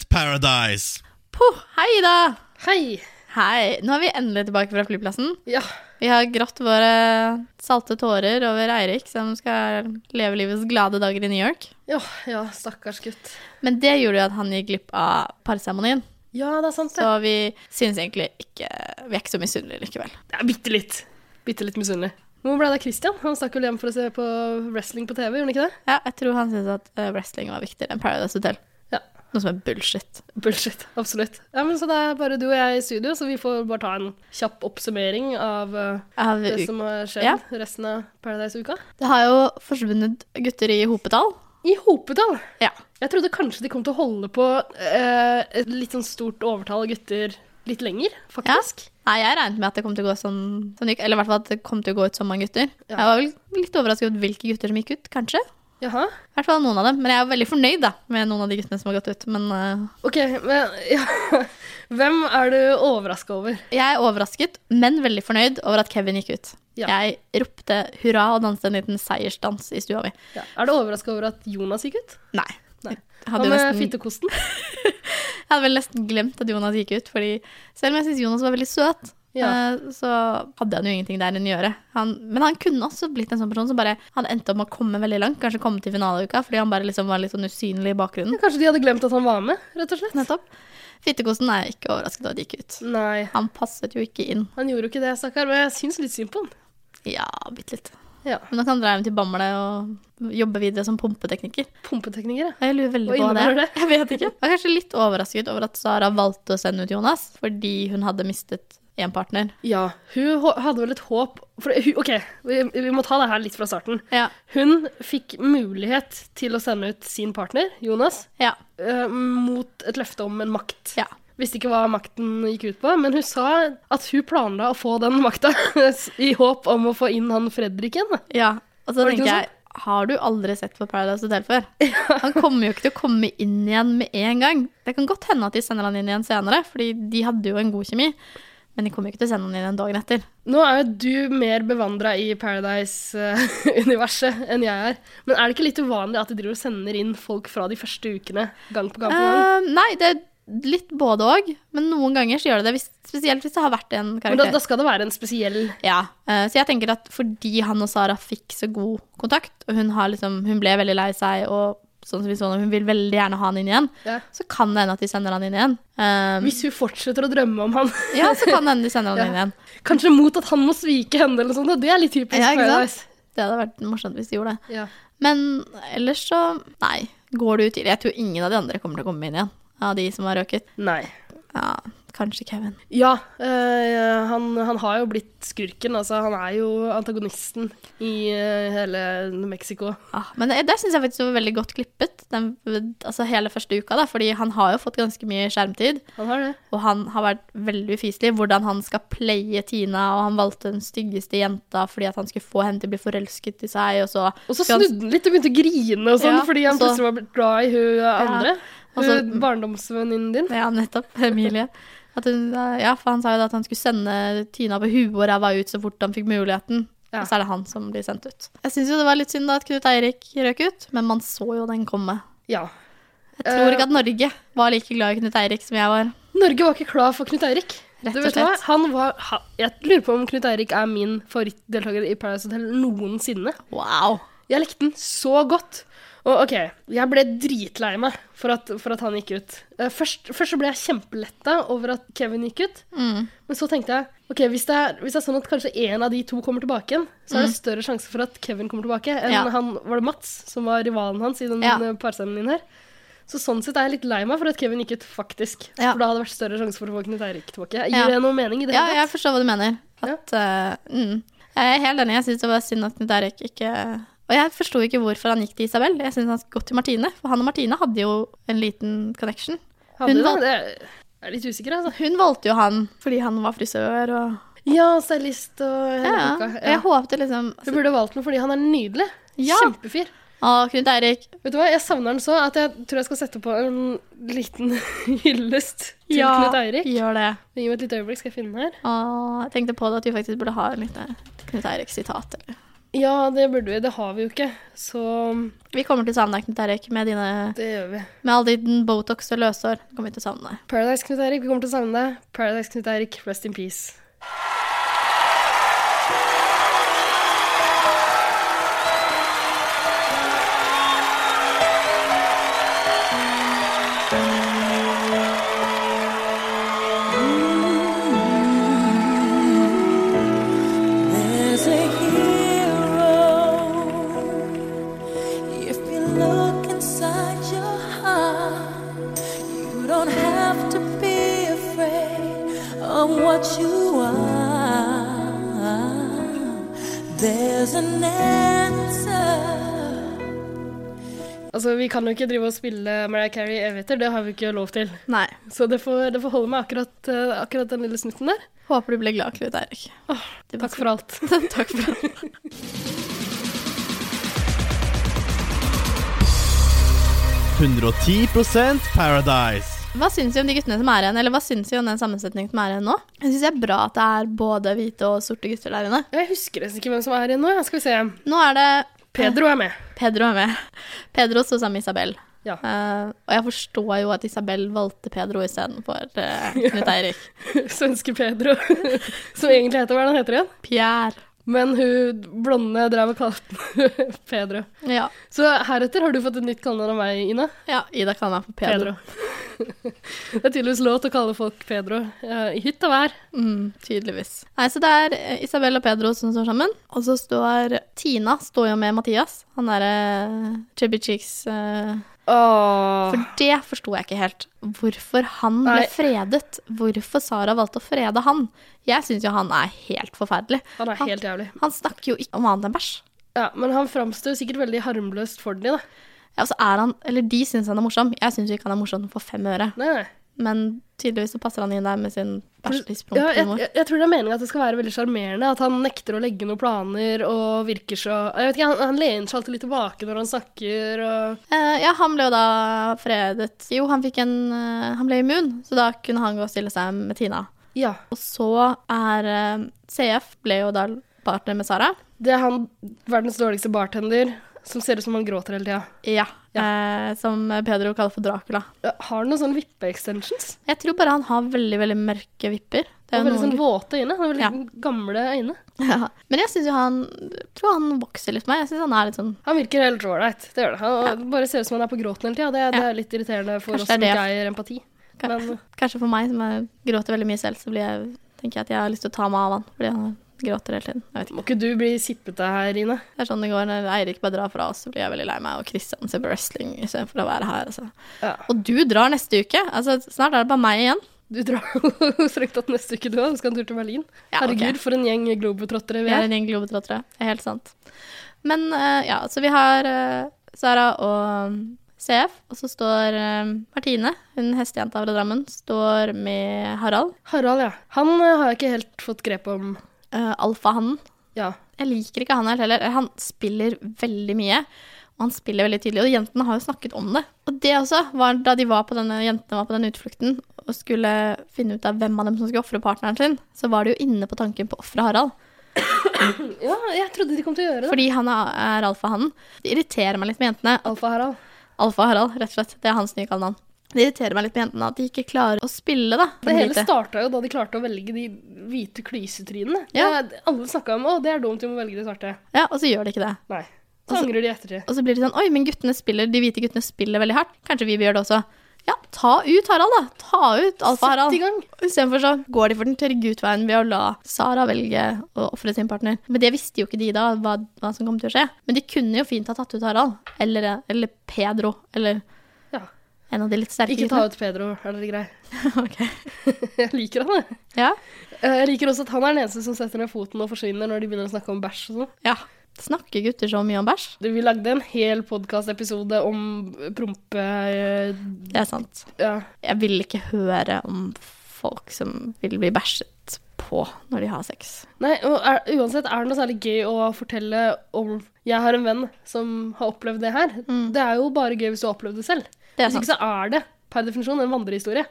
Paradise.
Puh, hei, Ida!
Hei!
Hei. Nå er vi endelig tilbake fra flyplassen.
Ja.
Vi har grått våre salte tårer over Eirik, som skal leve livets glade dager i New York.
ja. Ja, stakkars gutt.
Men det gjorde jo at han gikk glipp av parseremonien.
Ja, det er sant,
Så vi syns egentlig ikke Vi er ikke så misunnelige likevel.
Det er bitte litt. Bitte litt misunnelig. Hvor ble det av Christian? Han stakk vel hjem for å se på wrestling på TV, gjorde han ikke det?
Ja, jeg tror han syntes at eh, wrestling var viktigere enn Paradise Hotel.
Ja.
Noe som er bullshit.
Bullshit. Absolutt. Ja, men Så det er bare du og jeg i studio, så vi får bare ta en kjapp oppsummering av eh,
Av
det
u-
som har skjedd
Ja.
resten av Paradise-uka.
Det har jo forsvunnet gutter i hopetall.
I hopetall!
Ja.
Jeg trodde kanskje de kom til å holde på eh, et litt sånn stort overtall av gutter litt lenger, faktisk.
Nei, jeg regnet med at det kom til å gå sånn, sånn gikk- Eller i hvert fall at det kom til å gå ut så mange gutter.
Ja.
Jeg var vel litt overrasket over hvilke gutter som gikk ut, kanskje.
Jaha.
I hvert fall noen av dem. Men jeg er veldig fornøyd da, med noen av de guttene som har gått ut. Men eh,
Ok, men ja. Hvem er du overraska over?
jeg er overrasket, men veldig fornøyd over at Kevin gikk ut.
Ja.
Jeg ropte hurra og danset en liten seiersdans i stua mi.
Ja. Er du overraska over at Jonas gikk ut?
Nei.
Nei.
Jeg
Hva
hadde, jo
med
nesten,
eh, fittekosten?
jeg hadde vel nesten glemt at Jonas gikk ut, fordi selv om jeg syns Jonas var veldig søt,
Ja.
eh, så hadde han jo ingenting der enn å gjøre. Han, men han kunne også blitt en sånn person som bare hadde endt opp med å komme veldig langt, kanskje komme til finaleuka, fordi han bare liksom var litt sånn usynlig i bakgrunnen.
Kanskje de hadde glemt at han var med, rett og slett?
Nettopp. Fittekosten er jeg ikke overrasket over at gikk ut.
Nei.
Han passet jo ikke inn.
Han gjorde jo ikke det, stakkar, men jeg syns litt synd på han.
Ja, bitte litt.
Ja.
Men da kan dra hjem til Bamble og jobbe videre som pumpetekniker.
Pumpeteknikere.
Jeg lurer veldig
Hva
på det.
innebærer det?
Jeg vet ikke. Jeg var kanskje litt overrasket over at Sara valgte å sende ut Jonas, fordi hun hadde mistet én partner.
Ja, hun hå- hadde vel et håp for, hun, OK, vi, vi må ta det her litt fra starten.
Ja.
Hun fikk mulighet til å sende ut sin partner, Jonas,
Ja.
eh, mot et løfte om en makt.
Ja.
Visste ikke hva makten gikk ut på, men hun sa at hun planla å få den makta i håp om å få inn han Fredrik igjen. da.
ja. Og så
Var det ikke
tenker
noe
jeg, har du aldri sett på Paradise Hotel før? Han kommer jo ikke til å komme inn igjen med en gang. Det kan godt hende at de sender han inn igjen senere, fordi de hadde jo en god kjemi. Men de kommer jo ikke til å sende han inn igjen dagen etter.
Nå er jo du mer bevandra i Paradise-universet enn jeg er. Men er det ikke litt uvanlig at de driver og sender inn folk fra de første ukene gang på gang? på gang?
Eh, nei, det er litt både òg, men noen ganger så gjør det det. Hvis, spesielt hvis det har vært en
Men da,
karakter.
da skal det være en spesiell
Ja, eh, så jeg tenker at fordi han og Sara fikk så god kontakt, og hun, har liksom, hun ble veldig lei seg, og sånn som vi så nå, hun vil veldig gjerne ha han inn igjen,
Ja.
så kan det hende at de sender han inn igjen. Eh,
Hvis hun fortsetter å drømme om han,
ja, så kan det hende de sender han
Ja.
inn igjen.
kanskje mot at han må svike henne eller noe sånt, og det er litt typisk
Ja, ikke
Paradise.
sant? Det hadde vært morsomt hvis de gjorde det.
Ja.
Men ellers så, nei, går det ut til Jeg tror ingen av de andre kommer til å komme inn igjen, av de som har røket.
Nei.
Ja, kanskje Kevin.
Ja, eh, han, han har jo blitt skurken, altså. Han er jo antagonisten i eh, hele Mexico.
Ja, Ah, men det- der syns jeg faktisk det var veldig godt klippet, den, altså hele første uka, da, fordi han har jo fått ganske mye skjermtid.
Han har det.
Og han har vært veldig ufyselig. Hvordan han skal playe Tina, og han valgte den styggeste jenta fordi at han skulle få henne til å bli forelsket i seg, og så
Og så
skal han-
snudde han litt og begynte å grine og sånn,
Ja,
fordi han
og så-
plutselig var blitt glad i hun eh, andre.
og så-
Hun barndomsvenninnen din.
Ja, nettopp. Emilie. At hun, ja, for han sa jo da at han skulle sende Tina på huet og ræva ut så fort han fikk muligheten.
Ja.
Og så er det han som blir sendt ut. Jeg syns jo det var litt synd da at Knut Eirik røk ut, men man så jo den komme.
Ja.
Jeg tror
Eh.
ikke at Norge var like glad i Knut Eirik som jeg var.
Norge var ikke klar for Knut Eirik.
Rett
Du
og
vet hva?
slett.
Han var, ha, jeg lurer på om Knut Eirik er min favorittdeltaker i Paradise Hotel noensinne.
Wow.
Jeg likte den så godt. Og OK, jeg ble dritlei meg for at, for at han gikk ut. Eh, Først, først så ble jeg kjempeletta over at Kevin gikk ut. Men så tenkte jeg ok, hvis det, er, hvis det er sånn at kanskje en av de to kommer tilbake igjen, så er det større sjanse for at Kevin kommer tilbake enn
Mm. Ja.
han, var det Mats som var rivalen hans i den
Ja.
eh, parseremonien her. Så sånn sett er jeg litt lei meg for at Kevin gikk ut, faktisk.
Ja.
For da hadde det vært større sjanse for å få Knut Eirik tilbake. Gir
Ja.
det noe mening i det
Ja,
hele
jeg forstår hva du mener. At, eh, mm. Jeg er helt enig. Jeg syns det var synd at Knut Eirik ikke Og jeg forsto ikke hvorfor han gikk til Isabel. Jeg syns han skulle gått til Martine, for han og Martine hadde jo en liten connection. hun
Hadde det?
valg-
Det er- Jeg er litt usikker, altså.
Hun valgte jo han fordi han var frisør og
Ja, stylist og hele
Ja,
boka.
og jeg håpte liksom
Du burde valgt den fordi han er nydelig.
Ja.
Kjempefyr.
Å, Knut Eirik.
Vet du hva, Jeg savner den så at jeg tror jeg skal sette på en liten hyllest til
Ja,
Knut Eirik.
gjør det.
Gi meg et lite øyeblikk, skal jeg finne den her.
Å, jeg tenkte på det at vi faktisk burde ha en liten Knut Eirik-sitat. eller-
Ja, det burde vi. Det har vi jo ikke. Så
Vi kommer til å savne deg, Knut Eirik, med, dine,
det gjør vi.
med all din Botox og løshår. Kommer vi til å savne deg.
Paradise Knut Eirik, vi kommer til å savne deg. Paradise Knut Eirik, rest in peace.
There's a hero. If you look inside your heart, you don't have to be afraid of what you are. There's an answer.
Altså, Vi kan jo ikke drive og spille Mariah Carey evigheter, det har vi ikke lov til.
Nei.
Så det får, det får holde med akkurat, eh, akkurat den lille snutten der.
Håper du blir glad, Knut Eirik. Det var
Takk for alt.
Takk for det.
Paradise.
Hva syns vi om de guttene som er igjen, eller hva syns vi om den sammensetningen som er igjen nå? Jeg syns det er bra at det er både hvite og sorte gutter der inne.
Jeg husker nesten ikke hvem som er igjen nå. ja. Skal vi se.
Nå er det
Pedro er med.
Pedro er med. Pedro sto sammen med Isabel.
Ja.
Eh, og jeg forstår jo at Isabel valgte Pedro istedenfor uh, Knut Eirik.
Svenske Pedro. Som egentlig heter Hva er det han heter igjen?
Pierre.
Men hun blonde drev og kalte den Pedro.
Ja.
Så heretter har du fått et nytt kallenavn av meg, Ina.
ja. Ida kaller meg for Pedro.
Det er tydeligvis lov til å kalle folk Pedro eh, i hytt og vær.
Mm, tydeligvis. Nei, så det er eh, Isabel og Pedro som står sammen. Og så står Tina står jo med Mathias, han derre Chubby Cheeks. eh, for det forsto jeg ikke helt. Hvorfor han ble
Nei.
fredet. Hvorfor Sara valgte å frede han. Jeg syns jo han er helt forferdelig.
Han er helt jævlig.
Han snakker jo ikke om annet enn bæsj.
Ja, men han framstår sikkert veldig harmløst for de, da.
Ja, og så er han, eller De syns han er morsom. Jeg syns ikke han er morsom for fem øre.
Nei, nei.
Men tydeligvis så passer han inn der med sin bæsjlig
Ja, jeg,
humor.
jeg, jeg tror det er meningen at det skal være veldig sjarmerende. At han nekter å legge noen planer og virker så Jeg vet ikke, Han, han lener seg alltid litt tilbake når han snakker og
Eh, ja, han ble jo da fredet. Jo, han, fikk en, eh, han ble immun, så da kunne han gå og stille seg med Tina.
Ja.
Og så er eh, CF ble jo da partner med Sara.
Det er han verdens dårligste bartender som ser ut som han gråter hele tida.
Ja. Eh, som Pedro kaller for Dracula.
Ja, Har han noen sånne vippe-extensions?
Jeg tror bare han har veldig veldig mørke vipper. Det er
Og
jo
veldig sånn
noen...
våte øyne. Han har Veldig
Ja.
gamle øyne.
ja. Men jeg synes jo han jeg tror han vokser litt med. Jeg synes han er litt sånn
Han virker helt ålreit. Det gjør det. Han bare ser ut som han er på gråten hele tida. Det, det
Ja.
er litt irriterende for
Kanskje
oss som
det er
ikke eier empati.
ka-
Men-
Kanskje for meg, som er, gråter veldig mye selv, så blir jeg, tenker jeg at jeg har lyst til å ta meg av han. Fordi han gråter hele tiden. Jeg vet ikke.
Må ikke du bli sippete her, Ine?
Det er sånn det går når Eirik bare drar fra oss, så blir jeg veldig lei meg. Og Kristian ser på wrestling istedenfor å være her. Altså.
Ja.
Og du drar neste uke. Altså, snart er det bare meg igjen.
Du drar jo strengt tatt neste uke, du òg. Du skal en tur til Berlin.
Ja, ok.
Herregud, for en gjeng globetrottere vi
Vi er
er.
en gjeng globetrottere. Det er helt sant. Men eh, ja, så vi har eh, Sara og um, CF, og så står eh, Martine, hun hestejenta fra Drammen, står med Harald,
Harald, ja. Han eh, har jeg ikke helt fått grep om.
uh, alfahannen.
Ja.
Jeg liker ikke han helt heller. Eh, Han spiller veldig mye. Og han spiller veldig tydelig. Og jentene har jo snakket om det. Og det også var da de var på denne, jentene var på denne utflukten og skulle finne ut av hvem av dem som skulle ofre partneren sin, så var de jo inne på tanken på å ofre Harald.
ja, jeg trodde de kom til å gjøre det.
Fordi han er, er alfahannen. Det irriterer meg litt med jentene.
Alfa-Harald.
Alfa-Harald, rett og slett. Det er hans nye kallenavn. Det irriterer meg litt med jentene at de ikke klarer å spille, da.
Det hele
Lite.
starta jo da de klarte å velge de hvite klysetrynene.
Ja.
Det- Alle snakka om 'å, det er dumt, vi må velge de svarte'.
Ja, og så gjør de ikke det.
Nei.
Altså,
Så angrer de i ettertid.
Og så blir de sånn Oi, men guttene spiller, de hvite guttene spiller veldig hardt. Kanskje vi bør gjøre det også. Ja, ta ut Harald, da. Ta ut
Sett i
Alfa-Harald.
gang.
Istedenfor så går de for den tørre gutveien ved å la Sara velge å ofre sin partner. Men det visste jo ikke de da, hva, hva som kom til å skje. Men de kunne jo fint ha tatt ut Harald. Eller, eller Pedro. Eller
Ja.
en av de litt sterke
Ikke ta ut Pedro, er dere grei?
Ok.
Jeg liker han, jeg.
Ja.
Eh, Jeg liker også at han er den eneste som setter ned foten og forsvinner når de begynner å snakke om bæsj og sånn.
ja. Snakker gutter så mye om bæsj?
Du, Vi lagde en hel podkastepisode om prompe... eh,
Det er sant.
Ja.
Jeg vil ikke høre om folk som vil bli bæsjet på når de har sex.
Nei, og er, uansett er det noe særlig gøy å fortelle om Jeg har en venn som har opplevd det her. Det er jo bare gøy hvis du har opplevd det selv.
Mm. Det er
Hvis ikke
sant. Mm.
så er det per definisjon en vandrehistorie.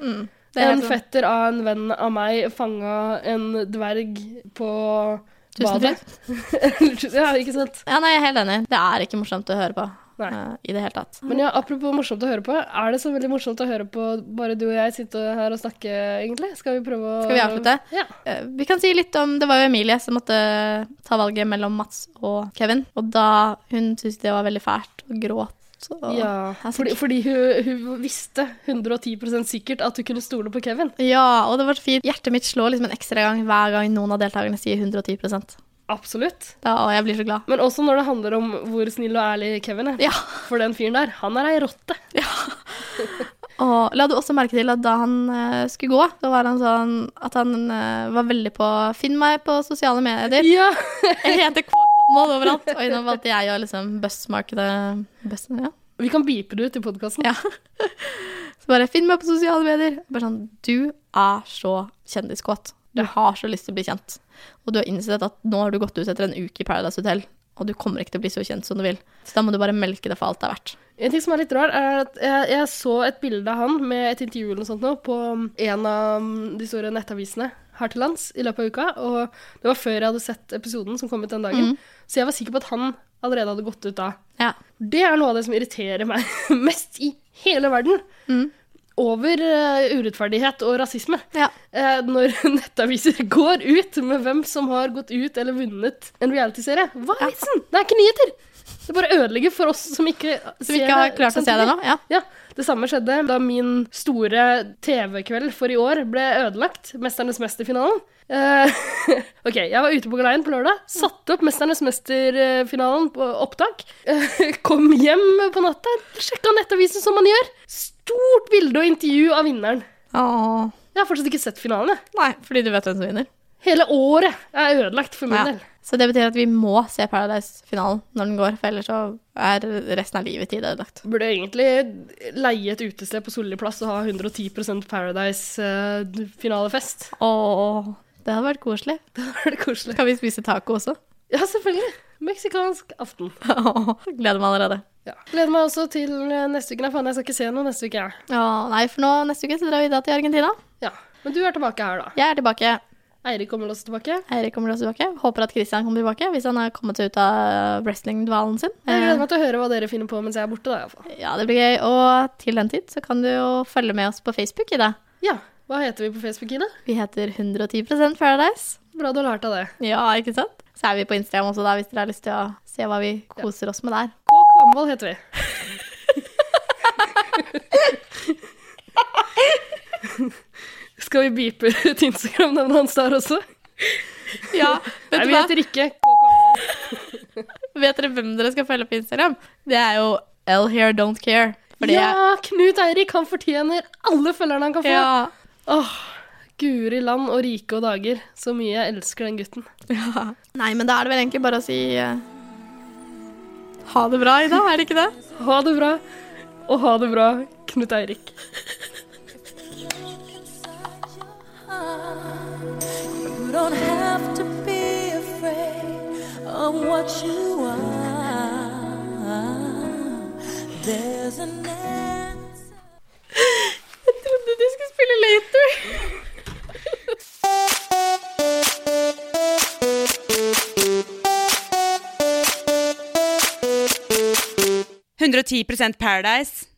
Det er
en
sant.
fetter av en venn av meg fanga en dverg på badet.
Tusenfryd.
ja, ikke sant?
Ja, nei, jeg er helt enig. Det er ikke morsomt å høre på
Nei.
eh, i det hele tatt.
Men ja, apropos morsomt å høre på. Er det så veldig morsomt å høre på bare du og jeg sitte her og snakke, egentlig? Skal vi prøve å
Skal vi avslutte?
Ja.
Eh, Vi kan si litt om Det var jo Emilie som måtte ta valget mellom Mats og Kevin. Og da hun syntes det var veldig fælt og gråt og
ja.
Altså,
Fordi, fordi hun, hun visste 110 sikkert at hun kunne stole på Kevin.
Ja, og det var så fint. Hjertet mitt slår liksom en ekstra gang hver gang noen av deltakerne sier 110 da,
Absolutt.
Og jeg blir så glad.
Men også når det handler om hvor snill og ærlig Kevin er.
Ja.
For den fyren der, han er ei rotte.
Og la du også merke til at da han eh, skulle gå, så var han sånn at han eh, var veldig på Finn meg på sosiale medier.
Ja.
Jeg heter K. Mål overalt. Oi, nå valgte jeg å liksom buzzmarkede bussen, ja.
Vi kan beepe det ut i podkasten.
ja. Så bare Finn meg på sosiale medier. Bare sånn Du er så kjendiskåt. Du har så lyst til å bli kjent. Og du har innsett at nå har du gått ut etter en uke i Paradise Hotel, og du kommer ikke til å bli så kjent som du vil. Så da må du bare melke det for alt det er verdt.
En ting som er litt rar, er at jeg, jeg så et bilde av han med et intervju eller noe sånt nå på um, en av de store nettavisene her til lands i løpet av uka. Og det var før jeg hadde sett episoden som kom ut den dagen. Så jeg var sikker på at han allerede hadde gått ut da.
Mm. Ja.
Det er noe av det som irriterer meg mest i hele verden.
Mm.
Over eh, urettferdighet og rasisme.
Ja.
Eh, når nettaviser går ut med hvem som har gått ut eller vunnet en realityserie. Hva er vitsen? Det er ikke nyheter! Det bare ødelegger for oss som ikke
Som ikke har klart å se det nå. Ja.
Ja, Det samme skjedde da min store TV-kveld for i år ble ødelagt. 'Mesternes mester'-finalen. Eh, ok, jeg var ute på galeien på lørdag, satte opp 'Mesternes mester'-finalen på opptak. Eh, kom hjem på natta, sjekka nettavisen som man gjør. Stort bilde og intervju av vinneren.
Åh.
Jeg har fortsatt ikke sett finalen. jeg.
Fordi du vet hvem som vinner.
Hele året er ødelagt for min
Ja.
del.
Så det betyr at vi må se Paradise-finalen når den går, for ellers så er resten av livet tid ødelagt.
Burde egentlig leie et utested på Solli plass og ha 110 eh, Paradise-finalefest.
Åh, det hadde vært koselig.
Da er det koselig.
Kan vi spise taco også?
Ja, selvfølgelig. Meksikansk aften.
Åh, gleder meg allerede.
Ja. Gleder meg også til eh, neste uke. Nei, faen, jeg skal ikke se noe neste uke, jeg.
Åh, nei, for nå neste uke så drar vi da til Argentina.
Ja. Men du er tilbake her, da.
Jeg er tilbake.
Eirik kommer også tilbake.
Eirik kommer også tilbake. Håper at Christian kommer tilbake, hvis han har kommet seg ut av wrestling-dvalen sin.
Jeg gleder
Eh,
meg til å høre hva dere finner på mens jeg er borte, da, iallfall.
Ja, det blir gøy. Og til den tid så kan du jo følge med oss på Facebook i dag.
Ja. Hva heter vi på Facebook, Ine?
Vi heter 110 Paradise.
Bra du har lært av det.
Ja, ikke sant? Så er vi på Instagram også da, hvis dere har lyst til å se hva vi koser oss med der.
K. Kvamvold heter vi. Skal vi beepe ut Instagram-navnet hans der også?
Ja, vet,
Nei, vi
du hva?
heter ikke K. Kvamvold.
vet dere hvem dere skal følge på Instagram? Det er jo L Here Don't Care. Fordi
Ja, Knut Eirik, han fortjener alle følgerne han kan få.
ja.
Åh, guri land og rike og dager. Så mye jeg elsker den gutten.
Nei, men da er det vel egentlig bare å si eh, ha det bra i dag, er det ikke det?
Ha det bra, og ha det bra, Knut Eirik.
inside your heart. You don't have to be afraid of what you are. There's an answer.
Jeg trodde du skulle spille later.
Paradise.